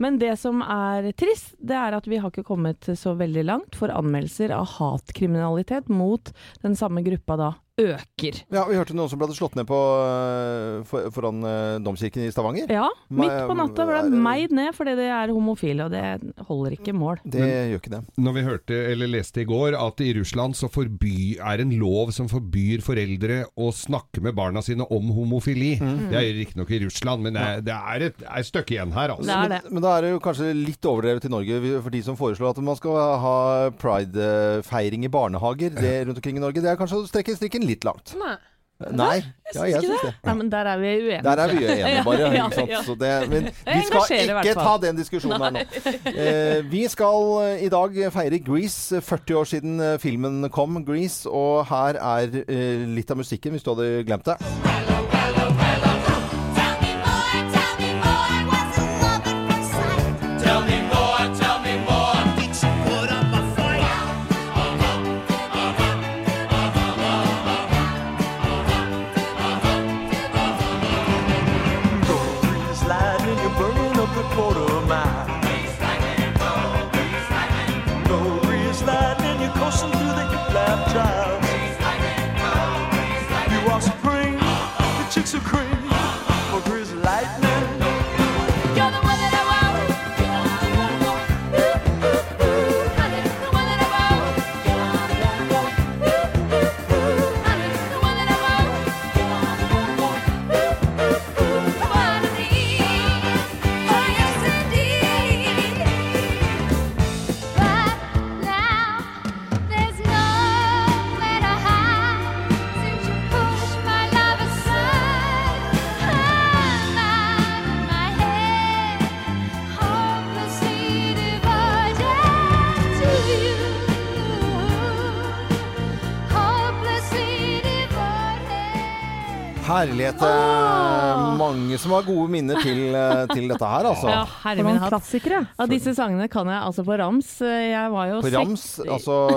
[SPEAKER 2] Men det som er trist, det er at vi har ikke kommet så veldig langt, for anmeldelser av hatkriminalitet mot den samme gruppa da øker.
[SPEAKER 1] Ja, Vi hørte noen som ble slått ned på eh, for, foran eh, domkirken i Stavanger.
[SPEAKER 2] Ja,
[SPEAKER 1] Ma-
[SPEAKER 2] midt på natta ble de meid ned fordi de er homofile, og det holder ikke mål.
[SPEAKER 1] gjør ikke det.
[SPEAKER 3] Når vi hørte eller leste i går at i Russland så forby, er en lov som forbyr foreldre å snakke med barna sine om homofili.
[SPEAKER 1] Mm.
[SPEAKER 3] Det er riktignok i Russland, men det er, det er et, er et stykke igjen her, altså.
[SPEAKER 1] Men, men da er det jo kanskje litt overdrevet i Norge vi- for de som foreslår at man skal ha pridefeiring i barnehager det, rundt omkring i Norge. Det er kanskje å strekke strikken litt langt.
[SPEAKER 7] Nei.
[SPEAKER 1] Nei. Ja, jeg syns det.
[SPEAKER 2] Nei, men der er vi uenige.
[SPEAKER 1] Der er vi uenige, bare.
[SPEAKER 2] Ja,
[SPEAKER 1] ikke sant?
[SPEAKER 2] ja.
[SPEAKER 1] Så det, men vi
[SPEAKER 2] Jeg engasjerer i
[SPEAKER 1] skal
[SPEAKER 2] hvert
[SPEAKER 1] ikke ta
[SPEAKER 2] fall.
[SPEAKER 1] den diskusjonen her nå.
[SPEAKER 2] Nei.
[SPEAKER 1] Eh, vi skal eh, i dag feire Grease, eh, 40 år siden eh, filmen kom, Grease. Og her er eh, litt av musikken, hvis du hadde glemt det.
[SPEAKER 8] Tell me more, tell me more. Did you put up a fight?
[SPEAKER 13] lightning, you're burning up the quarter mile. No grease lightning, you're coursing through the hip-lap trials. You are supreme, the chicks are cream, for grease lightning. You're the one that I want. Oh,
[SPEAKER 1] Herlighet. eh, Mange som har gode minner til, eh, til dette her, altså.
[SPEAKER 2] Ah! Ja, herre min hatt. Av disse sangene kan jeg altså på rams. Jeg var jo
[SPEAKER 1] På rams,
[SPEAKER 2] seks-
[SPEAKER 1] altså,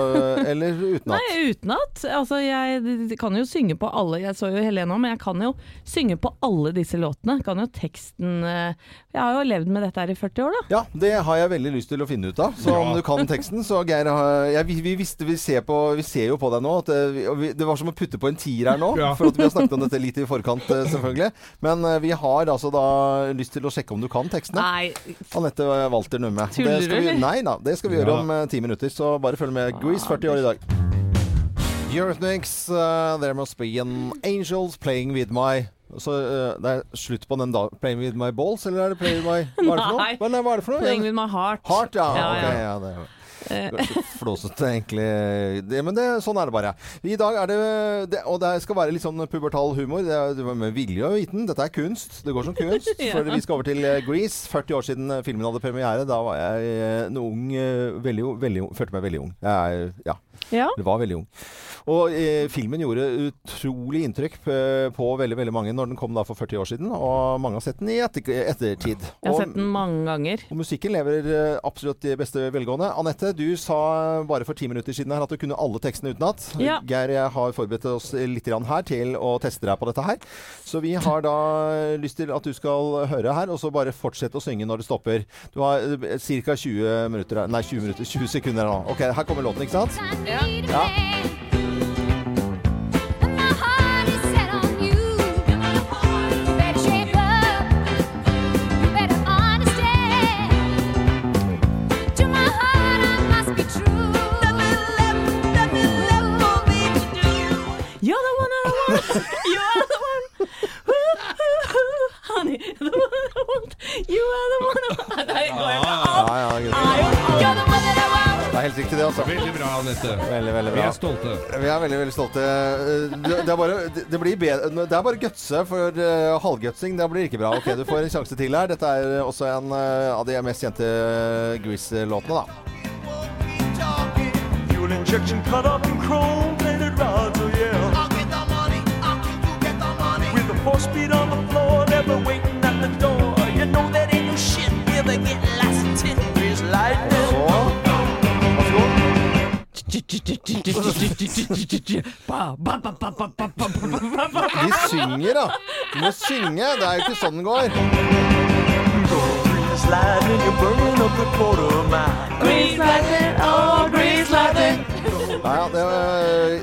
[SPEAKER 1] eller utenat.
[SPEAKER 2] Nei, utenat. Altså, jeg kan jo synge på alle. Jeg så jo Helene òg, men jeg kan jo synge på alle disse låtene. Kan jo teksten eh, Jeg har jo levd med dette her i 40 år, da.
[SPEAKER 1] Ja, det har jeg veldig lyst til å finne ut av. Så om du kan teksten, så Geir har- jeg, vi, vi, visste, vi, ser på, vi ser jo på deg nå at eh, vi, og vi, Det var som å putte på en tier her nå, for at vi har snakket om dette litt i forkant, eh, selvfølgelig. Men eh, vi har altså da lyst til å sjekke om du kan tekstene.
[SPEAKER 2] Nei.
[SPEAKER 1] Anette Walter Numme. Det
[SPEAKER 2] Tuller du,
[SPEAKER 1] skal vi-
[SPEAKER 2] eller? Ah,
[SPEAKER 1] Nei da, det skal vi gjøre
[SPEAKER 3] Ja.
[SPEAKER 1] om eh, ti minutter, så bare følg med. Grease 40 år i dag. Eurythmics, uh, there must be an angels playing with my så eh, det er slutt på den da. Playing with my balls, eller er det play with my Hva er det for noe? Hva, nei, hva er det for noe?
[SPEAKER 2] Playing with my heart.
[SPEAKER 1] Heart, ja.
[SPEAKER 2] Ja,
[SPEAKER 1] ok,
[SPEAKER 2] ja.
[SPEAKER 1] ja. det er-
[SPEAKER 2] Eh.
[SPEAKER 1] Det er så flåsete, egentlig. Det, men det, sånn er det bare. I dag er det, det Og det skal være litt sånn pubertal humor. Det er, det var med vilje og viten. Dette er kunst. Det går som kunst.
[SPEAKER 2] Ja.
[SPEAKER 1] For vi skal over til eh, Grease. 40 år siden eh, filmen hadde premiere. Da var jeg eh, en ung eh, veldig, veldig ung. Følte meg veldig ung. Jeg, er- ja.
[SPEAKER 2] Ja.
[SPEAKER 1] Det var veldig ung. Og eh, filmen gjorde utrolig inntrykk p- på veldig veldig mange når den kom da for 40 år siden, og mange har sett den i etter ettertid.
[SPEAKER 2] Jeg har
[SPEAKER 1] Og-
[SPEAKER 2] sett den mange ganger.
[SPEAKER 1] og musikken lever eh, absolutt i beste velgående. Anette, du sa bare for ti minutter siden her at du kunne alle tekstene utenat.
[SPEAKER 2] Ja.
[SPEAKER 1] Geir, jeg har forberedt oss litt grann her til å teste deg på dette her. Så vi har da lyst til at du skal høre her, og så bare fortsette å synge når det stopper. Du har ca. 20 minutter her- Nei, 20 minutter, 20 sekunder her nå. Ok, her kommer låten, ikke sant? Ja.
[SPEAKER 2] You're the one I want. You are the one. Honey, the one I want. You are the one I want. Nei, det går jo ikke an.
[SPEAKER 1] Ja, ja, greit. Det er helt riktig det, altså.
[SPEAKER 3] Veldig bra, Anette.
[SPEAKER 1] Veldig, veldig bra.
[SPEAKER 3] Vi er stolte.
[SPEAKER 1] Vi er veldig, veldig stolte. Eh, Det det er bare, det blir bedre. Det er bare gutse, for eh, halvgutsing det blir ikke bra. Ok, Du får en sjanse til her. Dette er også en eh, av de mest kjente eh, Grease-låtene, da.
[SPEAKER 13] Fuel injection cut up in chrome plated rods, oh yeah. I'll get the money, I'll get you get the money. With a four speed on the floor, never waiting at the door. You know that ain't no shit, we'll be getting lots of tin. There's lightning.
[SPEAKER 1] De synger, da. Du må synge. Det er jo ikke sånn den går.
[SPEAKER 13] Grease lightning, you're burning up the quarter mile. Grease lightning, oh grease lightning.
[SPEAKER 1] Nei, ja, det, eh,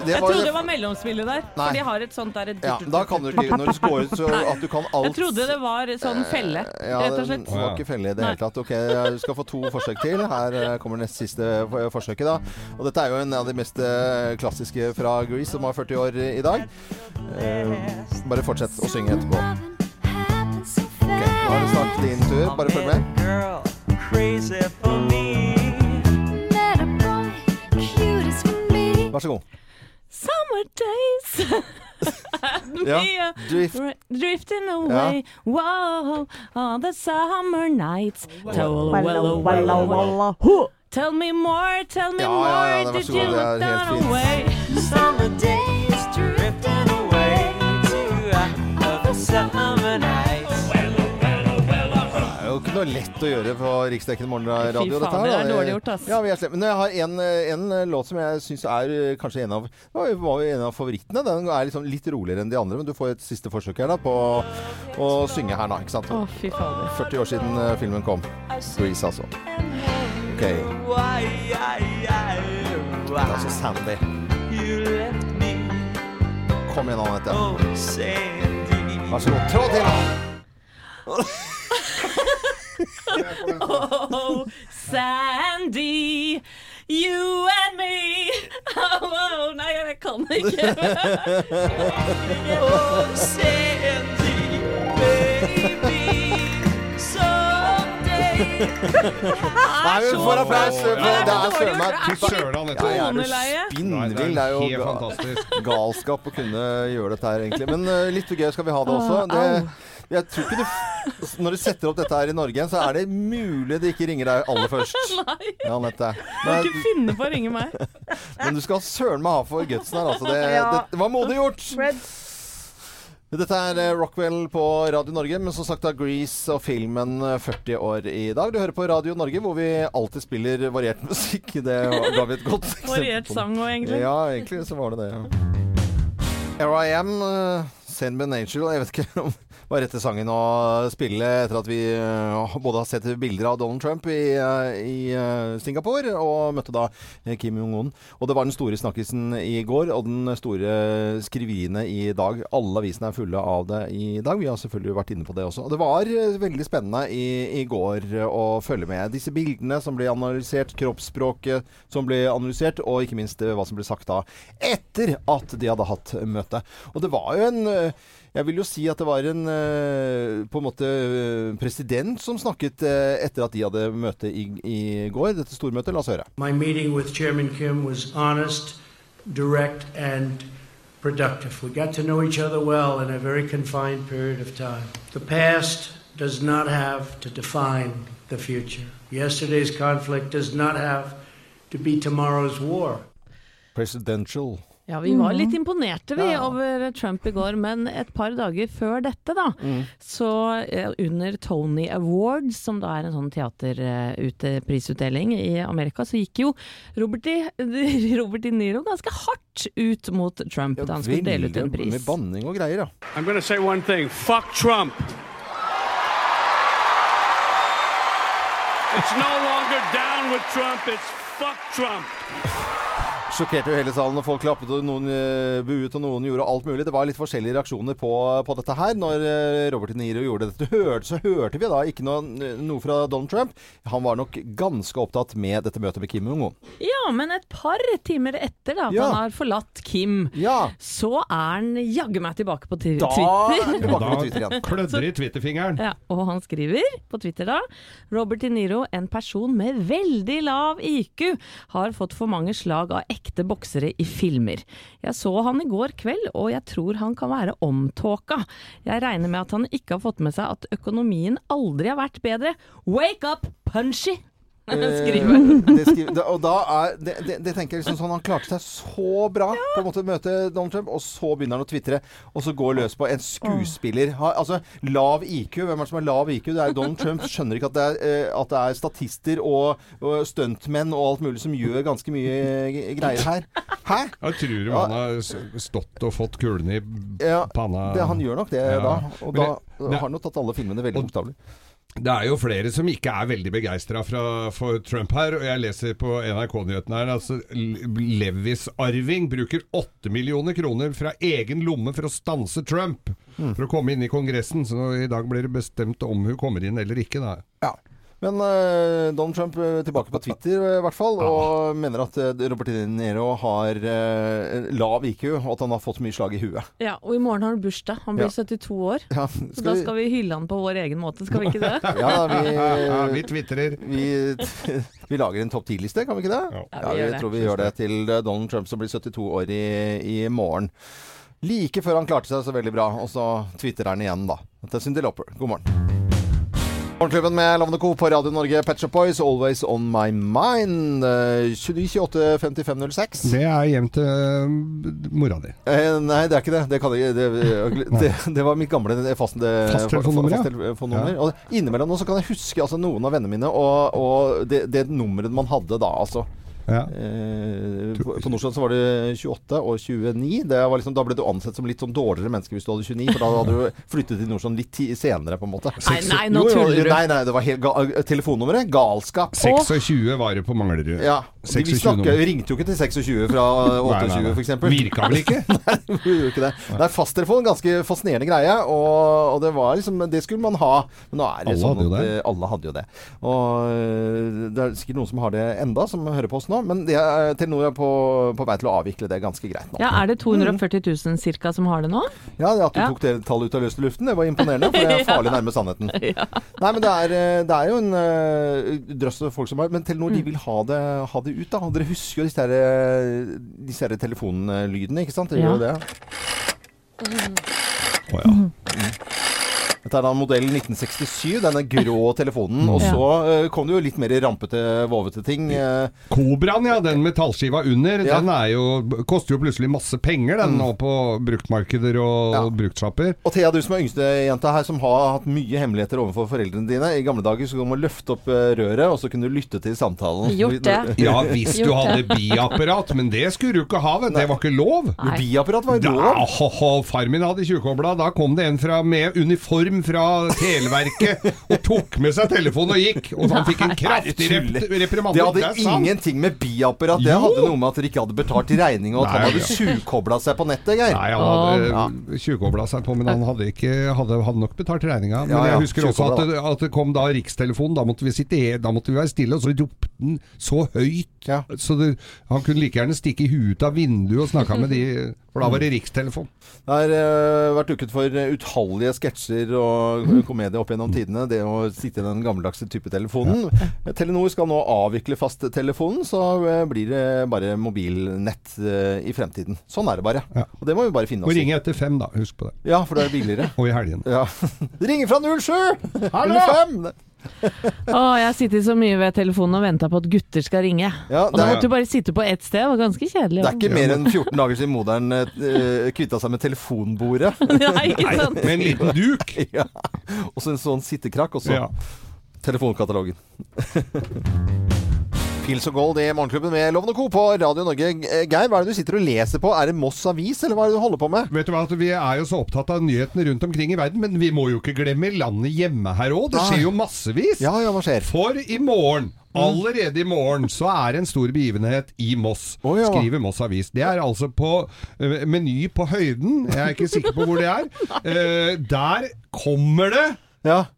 [SPEAKER 1] det
[SPEAKER 2] Jeg
[SPEAKER 1] var
[SPEAKER 2] trodde det var mellomspillet der.
[SPEAKER 1] Nei.
[SPEAKER 2] For de har et sånt der
[SPEAKER 1] ja, Da kan du ikke Når du scorer så at du kan alt
[SPEAKER 2] Jeg trodde det var sånn
[SPEAKER 4] Eh,
[SPEAKER 2] felle,
[SPEAKER 1] Eh, Ja,
[SPEAKER 2] rett og slett.
[SPEAKER 1] Det var ikke felle i det
[SPEAKER 2] Nei.
[SPEAKER 1] hele tatt. Ok, Du skal få to forsøk til. Her eh, kommer nest siste eh, forsøket. da Og Dette er jo en av de mest eh, klassiske fra Grease, som har 40 år i dag. Eh, Bare fortsett å synge etterpå. Ok, Nå er det snart din tur. Bare følg med.
[SPEAKER 13] Girl, crazy for me.
[SPEAKER 1] Vær så god.
[SPEAKER 2] Summer days
[SPEAKER 1] Ja,
[SPEAKER 2] Yeah.
[SPEAKER 1] drift.
[SPEAKER 2] Re- Drifting away Wow On the summer nights Tell,
[SPEAKER 4] Walla,
[SPEAKER 2] well,
[SPEAKER 4] walla,
[SPEAKER 2] well, well.
[SPEAKER 4] walla. Huh!
[SPEAKER 2] tell me more, tell me
[SPEAKER 4] Ja, ja,
[SPEAKER 2] more
[SPEAKER 4] ja, det var
[SPEAKER 2] Did
[SPEAKER 4] så
[SPEAKER 2] you
[SPEAKER 4] god, det er
[SPEAKER 2] look
[SPEAKER 4] helt
[SPEAKER 2] down
[SPEAKER 4] fint.
[SPEAKER 2] away
[SPEAKER 13] Summer days drifting away to uh, other summer nights.
[SPEAKER 1] Det er jo ikke noe lett å gjøre på riksdekkende morgenradio.
[SPEAKER 13] Fy faen,
[SPEAKER 1] dette her,
[SPEAKER 13] det
[SPEAKER 1] da.
[SPEAKER 13] er dårlig gjort, ass.
[SPEAKER 1] Ja, vi er slemme. Men jeg har en, en eh, låt som jeg syns er eh, kanskje en av, det var jo- var jo en av favorittene. Den er liksom litt roligere enn de andre, men du får et siste forsøk her da på å synge her nå, ikke sant?
[SPEAKER 2] Å, fy fader.
[SPEAKER 1] 40 år siden eh, filmen kom. Grease, altså. OK. Det
[SPEAKER 13] Why, I, I, why
[SPEAKER 1] er altså Sandy.
[SPEAKER 13] you left me,
[SPEAKER 1] Kom igjen, Anette.
[SPEAKER 13] oh Sandy.
[SPEAKER 1] Vær så god. Trå til!
[SPEAKER 2] Oh, Sandy You and me oh, oh, Nei, jeg kan ikke
[SPEAKER 13] Oh Sandy, baby, someday.
[SPEAKER 1] Nei, vi får applaus!
[SPEAKER 3] Å,
[SPEAKER 1] for
[SPEAKER 3] ja.
[SPEAKER 1] Det er søren meg
[SPEAKER 3] Fy søren, Anette.
[SPEAKER 1] Ja, jeg er jo
[SPEAKER 2] Toneleie.
[SPEAKER 1] Spinnvill. Det er jo
[SPEAKER 3] Helt
[SPEAKER 1] ga-
[SPEAKER 3] fantastisk.
[SPEAKER 1] galskap å kunne gjøre dette her, egentlig. Men eh, litt gøy skal vi ha det også.
[SPEAKER 2] Åh,
[SPEAKER 1] Det, jeg tror ikke du f- Når du setter opp dette her i Norge, så er det mulig det ikke ringer deg aller først.
[SPEAKER 2] Nei,
[SPEAKER 1] Ja, Anette.
[SPEAKER 2] jeg kan
[SPEAKER 1] Men,
[SPEAKER 2] ikke finne på å ringe meg
[SPEAKER 1] men du skal søren meg ha for gutsen her, altså. Det, det, det var modig gjort. Dette er eh, Rockwell på Radio Norge, men som sagt er Grease og filmen eh, 40 år i dag. Du hører på Radio Norge, hvor vi alltid spiller variert musikk. Det ga vi et godt eksempel på.
[SPEAKER 2] Variert sang også, egentlig.
[SPEAKER 1] Ja, egentlig så var det det, ja. Here I Am, eh, Send Me an Angel. Jeg vet ikke om hva er rette sangen å spille etter at vi eh, både har sett bilder av Donald Trump i, eh, i eh, Singapore, og møtte da eh, Kim Jong-un. Og det var den store snakkisen i går, og den store skriveriene i dag. Alle avisene er fulle av det i dag. Vi har selvfølgelig vært inne på det også. Og det var eh, veldig spennende i, i går eh, å følge med. Disse bildene som ble analysert, kroppsspråket som ble analysert, og ikke minst eh, hva som ble sagt da etter at de hadde hatt møte. Og det var jo en eh, eh, jeg vil jo si at det var en eh, på en måte eh, president som snakket eh, etter at de hadde møte i, i går, dette stormøtet. La oss høre.
[SPEAKER 14] My meeting with Chairman Kim was honest, direct, and productive. We got to know each other well in a very confined period of time. The past does not have to define the future. Yesterday's conflict does not have to be tomorrow's war.
[SPEAKER 1] Presidential.
[SPEAKER 2] Ja, vi var
[SPEAKER 14] Mhm.
[SPEAKER 1] Mm.
[SPEAKER 2] litt imponerte vi over Trump i går, men et par dager før dette, da,
[SPEAKER 1] Mm.
[SPEAKER 2] så eh, under Tony Awards, som da er en sånn teaterprisutdeling i Amerika, så gikk jo Robert, Di- Robert De Niro ganske hardt ut mot Trump da han skulle dele ut en
[SPEAKER 1] Veldig Med
[SPEAKER 2] pris.
[SPEAKER 1] banning og greier, ja.
[SPEAKER 15] I'm going to say one thing. Fuck Trump. It's no longer down with Trump. It's fuck Trump.
[SPEAKER 1] Sjokkerte jo hele salen, og folk klappet, og noen eh, buet, og noen gjorde alt mulig. Det var litt forskjellige reaksjoner på, på dette her. Når eh, Robert De Niro gjorde dette, hørte, så hørte vi da ikke noe, noe fra Donald Trump. Han var nok ganske opptatt med dette møtet med Kim Jong-un.
[SPEAKER 2] Ja, men et par timer etter da, at
[SPEAKER 1] Ja.
[SPEAKER 2] han har forlatt Kim, så er han jaggu meg tilbake på ti-
[SPEAKER 3] Da
[SPEAKER 2] Twitter.
[SPEAKER 3] er han tilbake på Twitter igjen. Klødder i Twitterfingeren.
[SPEAKER 2] Ja, og han skriver på Twitter da Robert De Niro, en person med veldig lav IQ, har fått for mange slag av ekte boksere i filmer. Jeg så han i går kveld, og jeg tror han kan være omtåka. Jeg regner med at han ikke har fått med seg at økonomien aldri har vært bedre. Wake up, punchy! Skriver
[SPEAKER 1] Eh, det skriver- da- og da er, det, det, det tenker jeg liksom sånn Han klarte seg så bra på en måte å møte Donald Trump, og så begynner han å tvitre og så går løs på en skuespiller. Ha, altså, lav IQ. Hvem er det som har lav IQ? Det er jo Donald Trump. Skjønner ikke at det er, eh, at det er statister og, og stuntmenn og alt mulig som gjør ganske mye eh, g- greier her. Hæ?
[SPEAKER 3] Jeg tror jo han har s- stått og fått kulene i b-
[SPEAKER 1] Ja,
[SPEAKER 3] panna.
[SPEAKER 1] det, han gjør nok det
[SPEAKER 3] Ja.
[SPEAKER 1] da. Og
[SPEAKER 3] Men
[SPEAKER 1] da
[SPEAKER 3] det- det-
[SPEAKER 1] har han jo tatt alle filmene veldig bokstavelig.
[SPEAKER 3] Det er jo flere som ikke er veldig begeistra for Trump her, og jeg leser på NRK-nyhetene her altså Levis-arving bruker 8 millioner kroner fra egen lomme for å stanse Trump
[SPEAKER 1] Mm.
[SPEAKER 3] for å komme inn i Kongressen, så i dag blir det bestemt om hun kommer inn eller ikke, da.
[SPEAKER 1] Men eh, Donald Trump er tilbake på Twitter eh, i hvert fall, og mener at eh, Robert De Niro har eh, lav IQ, og at han har fått mye slag i huet.
[SPEAKER 2] Ja, og i morgen har han bursdag. Han blir
[SPEAKER 1] Ja.
[SPEAKER 2] 72 år.
[SPEAKER 1] Ja,
[SPEAKER 2] Så da skal vi hylle han på vår egen måte, skal vi ikke det?
[SPEAKER 1] Ja, vi,
[SPEAKER 3] Ja,
[SPEAKER 1] Eh.
[SPEAKER 3] vi tvitrer.
[SPEAKER 1] Vi, vi lager en topp 10-liste, kan vi ikke det?
[SPEAKER 2] Ja, vi
[SPEAKER 1] vi
[SPEAKER 2] gjør det.
[SPEAKER 1] tror vi gjør det til eh, Donald Trump som blir 72 år i, i morgen. Like før han klarte seg så veldig bra, og så twitterer han igjen, da. Dette er Cyndi Lauper. God morgen. Morgenklubben med Lovende Co. på Radio Norge, Pet Shop Boys, Always On My Mind. eh, 29 28 55 06.
[SPEAKER 3] Det er hjem til eh, mora di.
[SPEAKER 1] Eh, nei, det er ikke det. Det, kan jeg, det, det, det var mitt gamle fast,
[SPEAKER 3] Fasttelefonnummer, ja.
[SPEAKER 1] fasttelefonnummer.
[SPEAKER 3] Ja.
[SPEAKER 1] Og innimellom nå så kan jeg huske altså, noen av vennene mine og, og det, det nummeret man hadde da, altså.
[SPEAKER 3] Ja.
[SPEAKER 1] Eh, på på Nordstrand så var det 28 og 29. Det var liksom, da ble du ansett som litt sånn dårligere menneske hvis du hadde 29, for da hadde du flyttet til Nordstrand litt ti senere, på en måte.
[SPEAKER 2] Nei, nei, nå
[SPEAKER 1] Jo, jo,
[SPEAKER 2] tuller du.
[SPEAKER 1] Nei, nei, det var helt ga telefonnummeret. Galskap.
[SPEAKER 3] 26 var det på Manglerud.
[SPEAKER 1] Ja, de, vi
[SPEAKER 3] 26
[SPEAKER 1] snakka,
[SPEAKER 3] nummer.
[SPEAKER 1] ringte jo ikke til 26 fra
[SPEAKER 3] Nei, nei,
[SPEAKER 1] 28
[SPEAKER 3] nei.
[SPEAKER 1] f.eks.
[SPEAKER 3] Virka vel ikke?
[SPEAKER 1] nei, vi gjorde ikke det. Det er fasttelefon, ganske fascinerende greie. Og, og det var liksom Det skulle man ha. Men nå er det
[SPEAKER 3] Alle
[SPEAKER 1] sånn
[SPEAKER 3] hadde jo
[SPEAKER 1] at,
[SPEAKER 3] det.
[SPEAKER 1] eh, alle hadde jo det. Og eh, det er sikkert noen som har det enda, som hører på oss nå. Men det er, Telenor er på, på vei til å avvikle det ganske greit nå.
[SPEAKER 2] Ja, Er det 240 000 cirka som har det nå?
[SPEAKER 1] Ja, det at du
[SPEAKER 2] Ja.
[SPEAKER 1] tok det tallet ut av løse luften, det var imponerende. For det er farlig nærme sannheten. Nei, men det er, eh, det er jo en eh, drøss av folk som har Men Telenor
[SPEAKER 2] Mm.
[SPEAKER 1] de vil ha det, ha det ut, da. Og dere husker jo disse, her, eh, disse her telefonlydene, ikke sant? Dere gjør jo
[SPEAKER 2] Ja.
[SPEAKER 1] det. Dette er da modell 1967, denne grå
[SPEAKER 2] Mm.
[SPEAKER 1] telefonen. Og så eh, kom det jo litt mer rampete, vovete ting. eh,
[SPEAKER 3] Kobraen, ja. Den metallskiva under.
[SPEAKER 1] Ja.
[SPEAKER 3] Den er jo, koster jo plutselig masse penger, den nå på bruktmarkeder og bruktsjapper.
[SPEAKER 1] Og Thea, du som er yngste jenta her, som har hatt mye hemmeligheter overfor foreldrene dine. I gamle dager så kunne man løfte opp eh, røret, og så kunne du lytte til samtalen.
[SPEAKER 2] Gjort det.
[SPEAKER 3] Ja, hvis du
[SPEAKER 2] Gjort
[SPEAKER 3] hadde
[SPEAKER 2] det.
[SPEAKER 3] biapparat, men det skulle du ikke ha, vet du. Det var ikke lov.
[SPEAKER 1] Jo, biapparat var jo
[SPEAKER 3] Da, ho, ho, far min hadde tjukobla. Da kom det en fra, med uniform fra Televerket og tok med seg telefonen og gikk. Og han fikk en kraftig rep reprimande.
[SPEAKER 1] Det hadde
[SPEAKER 3] er sant.
[SPEAKER 1] ingenting med biapparat Det
[SPEAKER 3] Jo.
[SPEAKER 1] hadde noe med at dere ikke hadde betalt i regning, og at han
[SPEAKER 3] Nei.
[SPEAKER 1] hadde sugkobla seg på nettet, Geir.
[SPEAKER 3] Nei, han hadde eh, tjuvkobla seg på, men han hadde, ikke, hadde, hadde nok betalt regninga. Men
[SPEAKER 1] Ja, ja,
[SPEAKER 3] jeg husker også at
[SPEAKER 1] tjuvkobla,
[SPEAKER 3] det, at det kom da rikstelefonen. Da måtte vi sitte he- da måtte vi være stille, og så ropte den så høyt Så det, han kunne like gjerne stikke huet ut av vinduet og snakka med de, for da var det rikstelefon.
[SPEAKER 1] Det har eh, vært duket for eh, utallige sketsjer og eh, komedier opp gjennom tidene. Det å sitte i den gammeldagse type telefonen. Eh, Telenor skal nå avvikle fasttelefonen, så eh, blir det bare mobilnett eh, i fremtiden. Sånn er det bare. Og det må vi bare finne
[SPEAKER 3] Og
[SPEAKER 1] oss
[SPEAKER 3] ringe etter fem, da. Husk på det.
[SPEAKER 1] Ja, for det er billigere.
[SPEAKER 3] Og i helgene.
[SPEAKER 1] Ja. Ringer fra 07!
[SPEAKER 3] Hallo!
[SPEAKER 1] 05!
[SPEAKER 2] Å, jeg har sittet så mye ved telefonen og venta på at gutter skal ringe.
[SPEAKER 1] Ja,
[SPEAKER 2] og
[SPEAKER 1] det
[SPEAKER 2] da
[SPEAKER 1] er-
[SPEAKER 2] måtte du bare sitte på ett sted. Det var ganske kjedelig.
[SPEAKER 1] Det er ikke mer enn 14 dager siden moderen eh, kvitta seg med telefonbordet.
[SPEAKER 2] Nei, ikke sant. Nei,
[SPEAKER 3] med en liten duk.
[SPEAKER 1] ja. Og så en sånn sittekrakk, og så
[SPEAKER 3] Ja.
[SPEAKER 1] telefonkatalogen. Pils og Gold i Morgenklubben med Loven og Co. på Radio Norge. Eh, Geir, hva er det du sitter og leser på? Er det Moss Avis, eller hva er det du holder på med?
[SPEAKER 3] Vet du hva, at Vi er jo så opptatt av nyhetene rundt omkring i verden, men vi må jo ikke glemme landet hjemme her òg. Det skjer jo massevis.
[SPEAKER 1] Ja, ja, hva skjer?
[SPEAKER 3] For i morgen, allerede i morgen, så er en stor begivenhet i Moss. Skriver Moss Avis. Det er altså på eh, Meny på høyden. Jeg er ikke sikker på hvor det er. Eh, der kommer det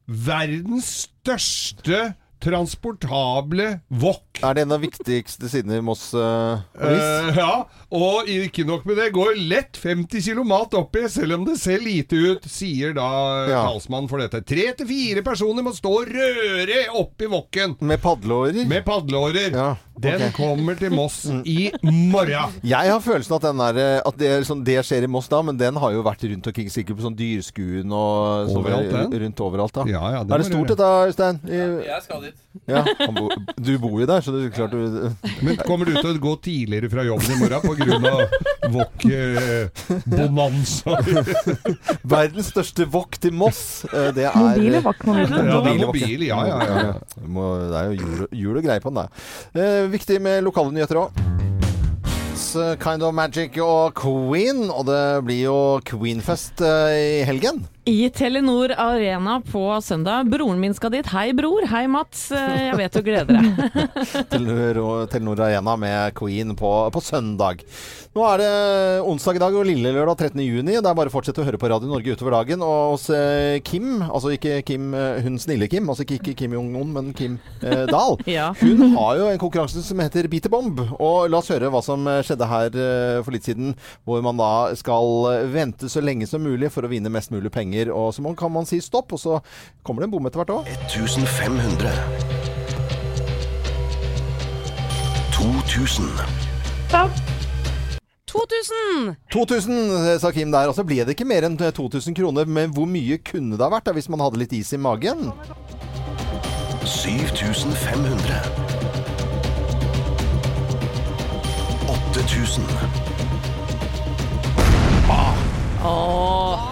[SPEAKER 3] verdens største transportable wok.
[SPEAKER 1] Er det en av de viktigste sidene i Moss eh, Avis?
[SPEAKER 3] Eh, ja, og ikke nok med det, går lett 50 kilo mat oppi, selv om det ser lite ut, sier da eh,
[SPEAKER 1] Ja.
[SPEAKER 3] talsmannen for dette. Tre til fire personer må stå og røre oppi wokken.
[SPEAKER 1] Med padleårer?
[SPEAKER 3] Med padleårer. Den
[SPEAKER 1] ok.
[SPEAKER 3] kommer til Moss i morgen.
[SPEAKER 1] Jeg har følelsen at, den er, eh, at det, er sånn, det skjer i Moss da, men den har jo vært rundt omkring sikkert på sånn dyrskuen og sånn
[SPEAKER 3] Overalt, den.
[SPEAKER 1] rundt overalt. da.
[SPEAKER 3] Ja, ja, det må
[SPEAKER 1] er det stort
[SPEAKER 3] det
[SPEAKER 1] dette, Øystein? I-
[SPEAKER 16] Jeg skal dit.
[SPEAKER 1] Ja, han bo, du bor jo der, så det er klart du
[SPEAKER 3] Men kommer du til å gå tidligere fra jobben i morgen pga. eh, wok-bonanza?
[SPEAKER 1] Verdens største wok til Moss, eh, det er
[SPEAKER 3] Mobile wok, man vet. Ja, det er
[SPEAKER 1] Mobile wok,
[SPEAKER 3] mobil, ja, ja, ja, ja.
[SPEAKER 1] Det må- Det er jo jul, jul og greie på den, det. Eh, viktig med lokale nyheter òg. Kind of Magic og Queen, og det blir jo Queenfest eh, i helgen.
[SPEAKER 2] I Telenor Arena på søndag. Broren min skal dit. Hei, bror. Hei, Mats. Eh, Jeg vet du gleder deg.
[SPEAKER 1] Telenor, Telenor Arena med Queen på, på søndag. Nå er det onsdag i dag og lille lørdag 13. juni. Det er bare å fortsette å høre på Radio Norge utover dagen. Og hos eh, Kim, altså ikke Kim, eh, hun snille Kim, altså ikke, ikke Kim Jong-un, men Kim eh, Dahl.
[SPEAKER 2] Ja.
[SPEAKER 1] Hun har jo en konkurranse som heter Beat the Bomb. Og la oss høre hva som skjedde her eh, for litt siden, hvor man da skal eh, vente så lenge som mulig for å vinne mest mulig penger. Og så må- kan man si stopp, og så kommer det en bom etter hvert òg.
[SPEAKER 17] 1500. 2000.
[SPEAKER 1] 2000! 2000, sa Kim eh, der. Og så ble det ikke mer enn 2000 kroner. Men hvor mye kunne det ha vært da, hvis man hadde litt is i magen?
[SPEAKER 17] 7500. 8000.
[SPEAKER 2] Åh.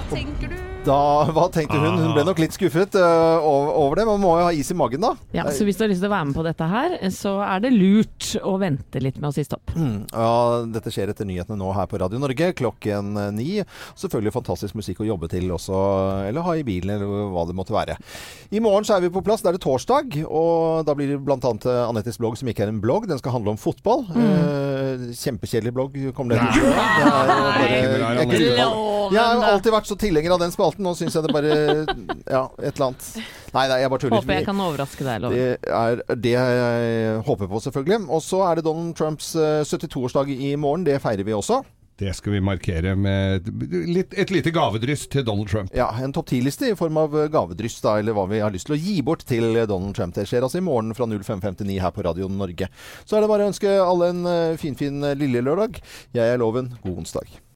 [SPEAKER 1] Da, Hva tenkte hun? Hun ble nok litt skuffet øh, over over det. Man må jo ha is i magen, da.
[SPEAKER 2] Ja, så hvis du har lyst til å være med på dette her, så er det lurt å vente litt med å si stopp.
[SPEAKER 1] Mm, ja, dette skjer etter nyhetene nå her på Radio Norge klokken eh, ni. Selvfølgelig fantastisk musikk å jobbe til også, eller ha i bilen, eller hva det måtte være. I morgen så er vi på plass. Da er det torsdag, og da blir det bl.a. Anettes blogg, som ikke er en blogg, den skal handle om fotball. Eh, kjempekjedelig blogg kom det til. Det er
[SPEAKER 3] Nei,
[SPEAKER 1] bare-
[SPEAKER 3] Anette.
[SPEAKER 1] Jeg gruer meg. Jeg har jo alltid vært så tilhenger av den spalten, nå syns jeg det bare Ja, et eller annet. Nei, nei, jeg bare tuller.
[SPEAKER 2] Håper jeg kan overraske deg, Loven.
[SPEAKER 1] Det er det jeg håper på, selvfølgelig. Og så er det Donald Trumps eh, 72-årsdag i morgen. Det feirer vi også.
[SPEAKER 3] Det skal vi markere med litt, et lite gavedryss til Donald Trump.
[SPEAKER 1] Ja, En topp 10-liste i form av eh, gavedryss, da, eller hva vi har lyst til å gi bort til Donald Trump. Det skjer altså i morgen fra 05.59 her på Radio eh, Norge. Så er det bare å ønske alle en eh, finfin fin lille lørdag. Jeg er Loven. God onsdag.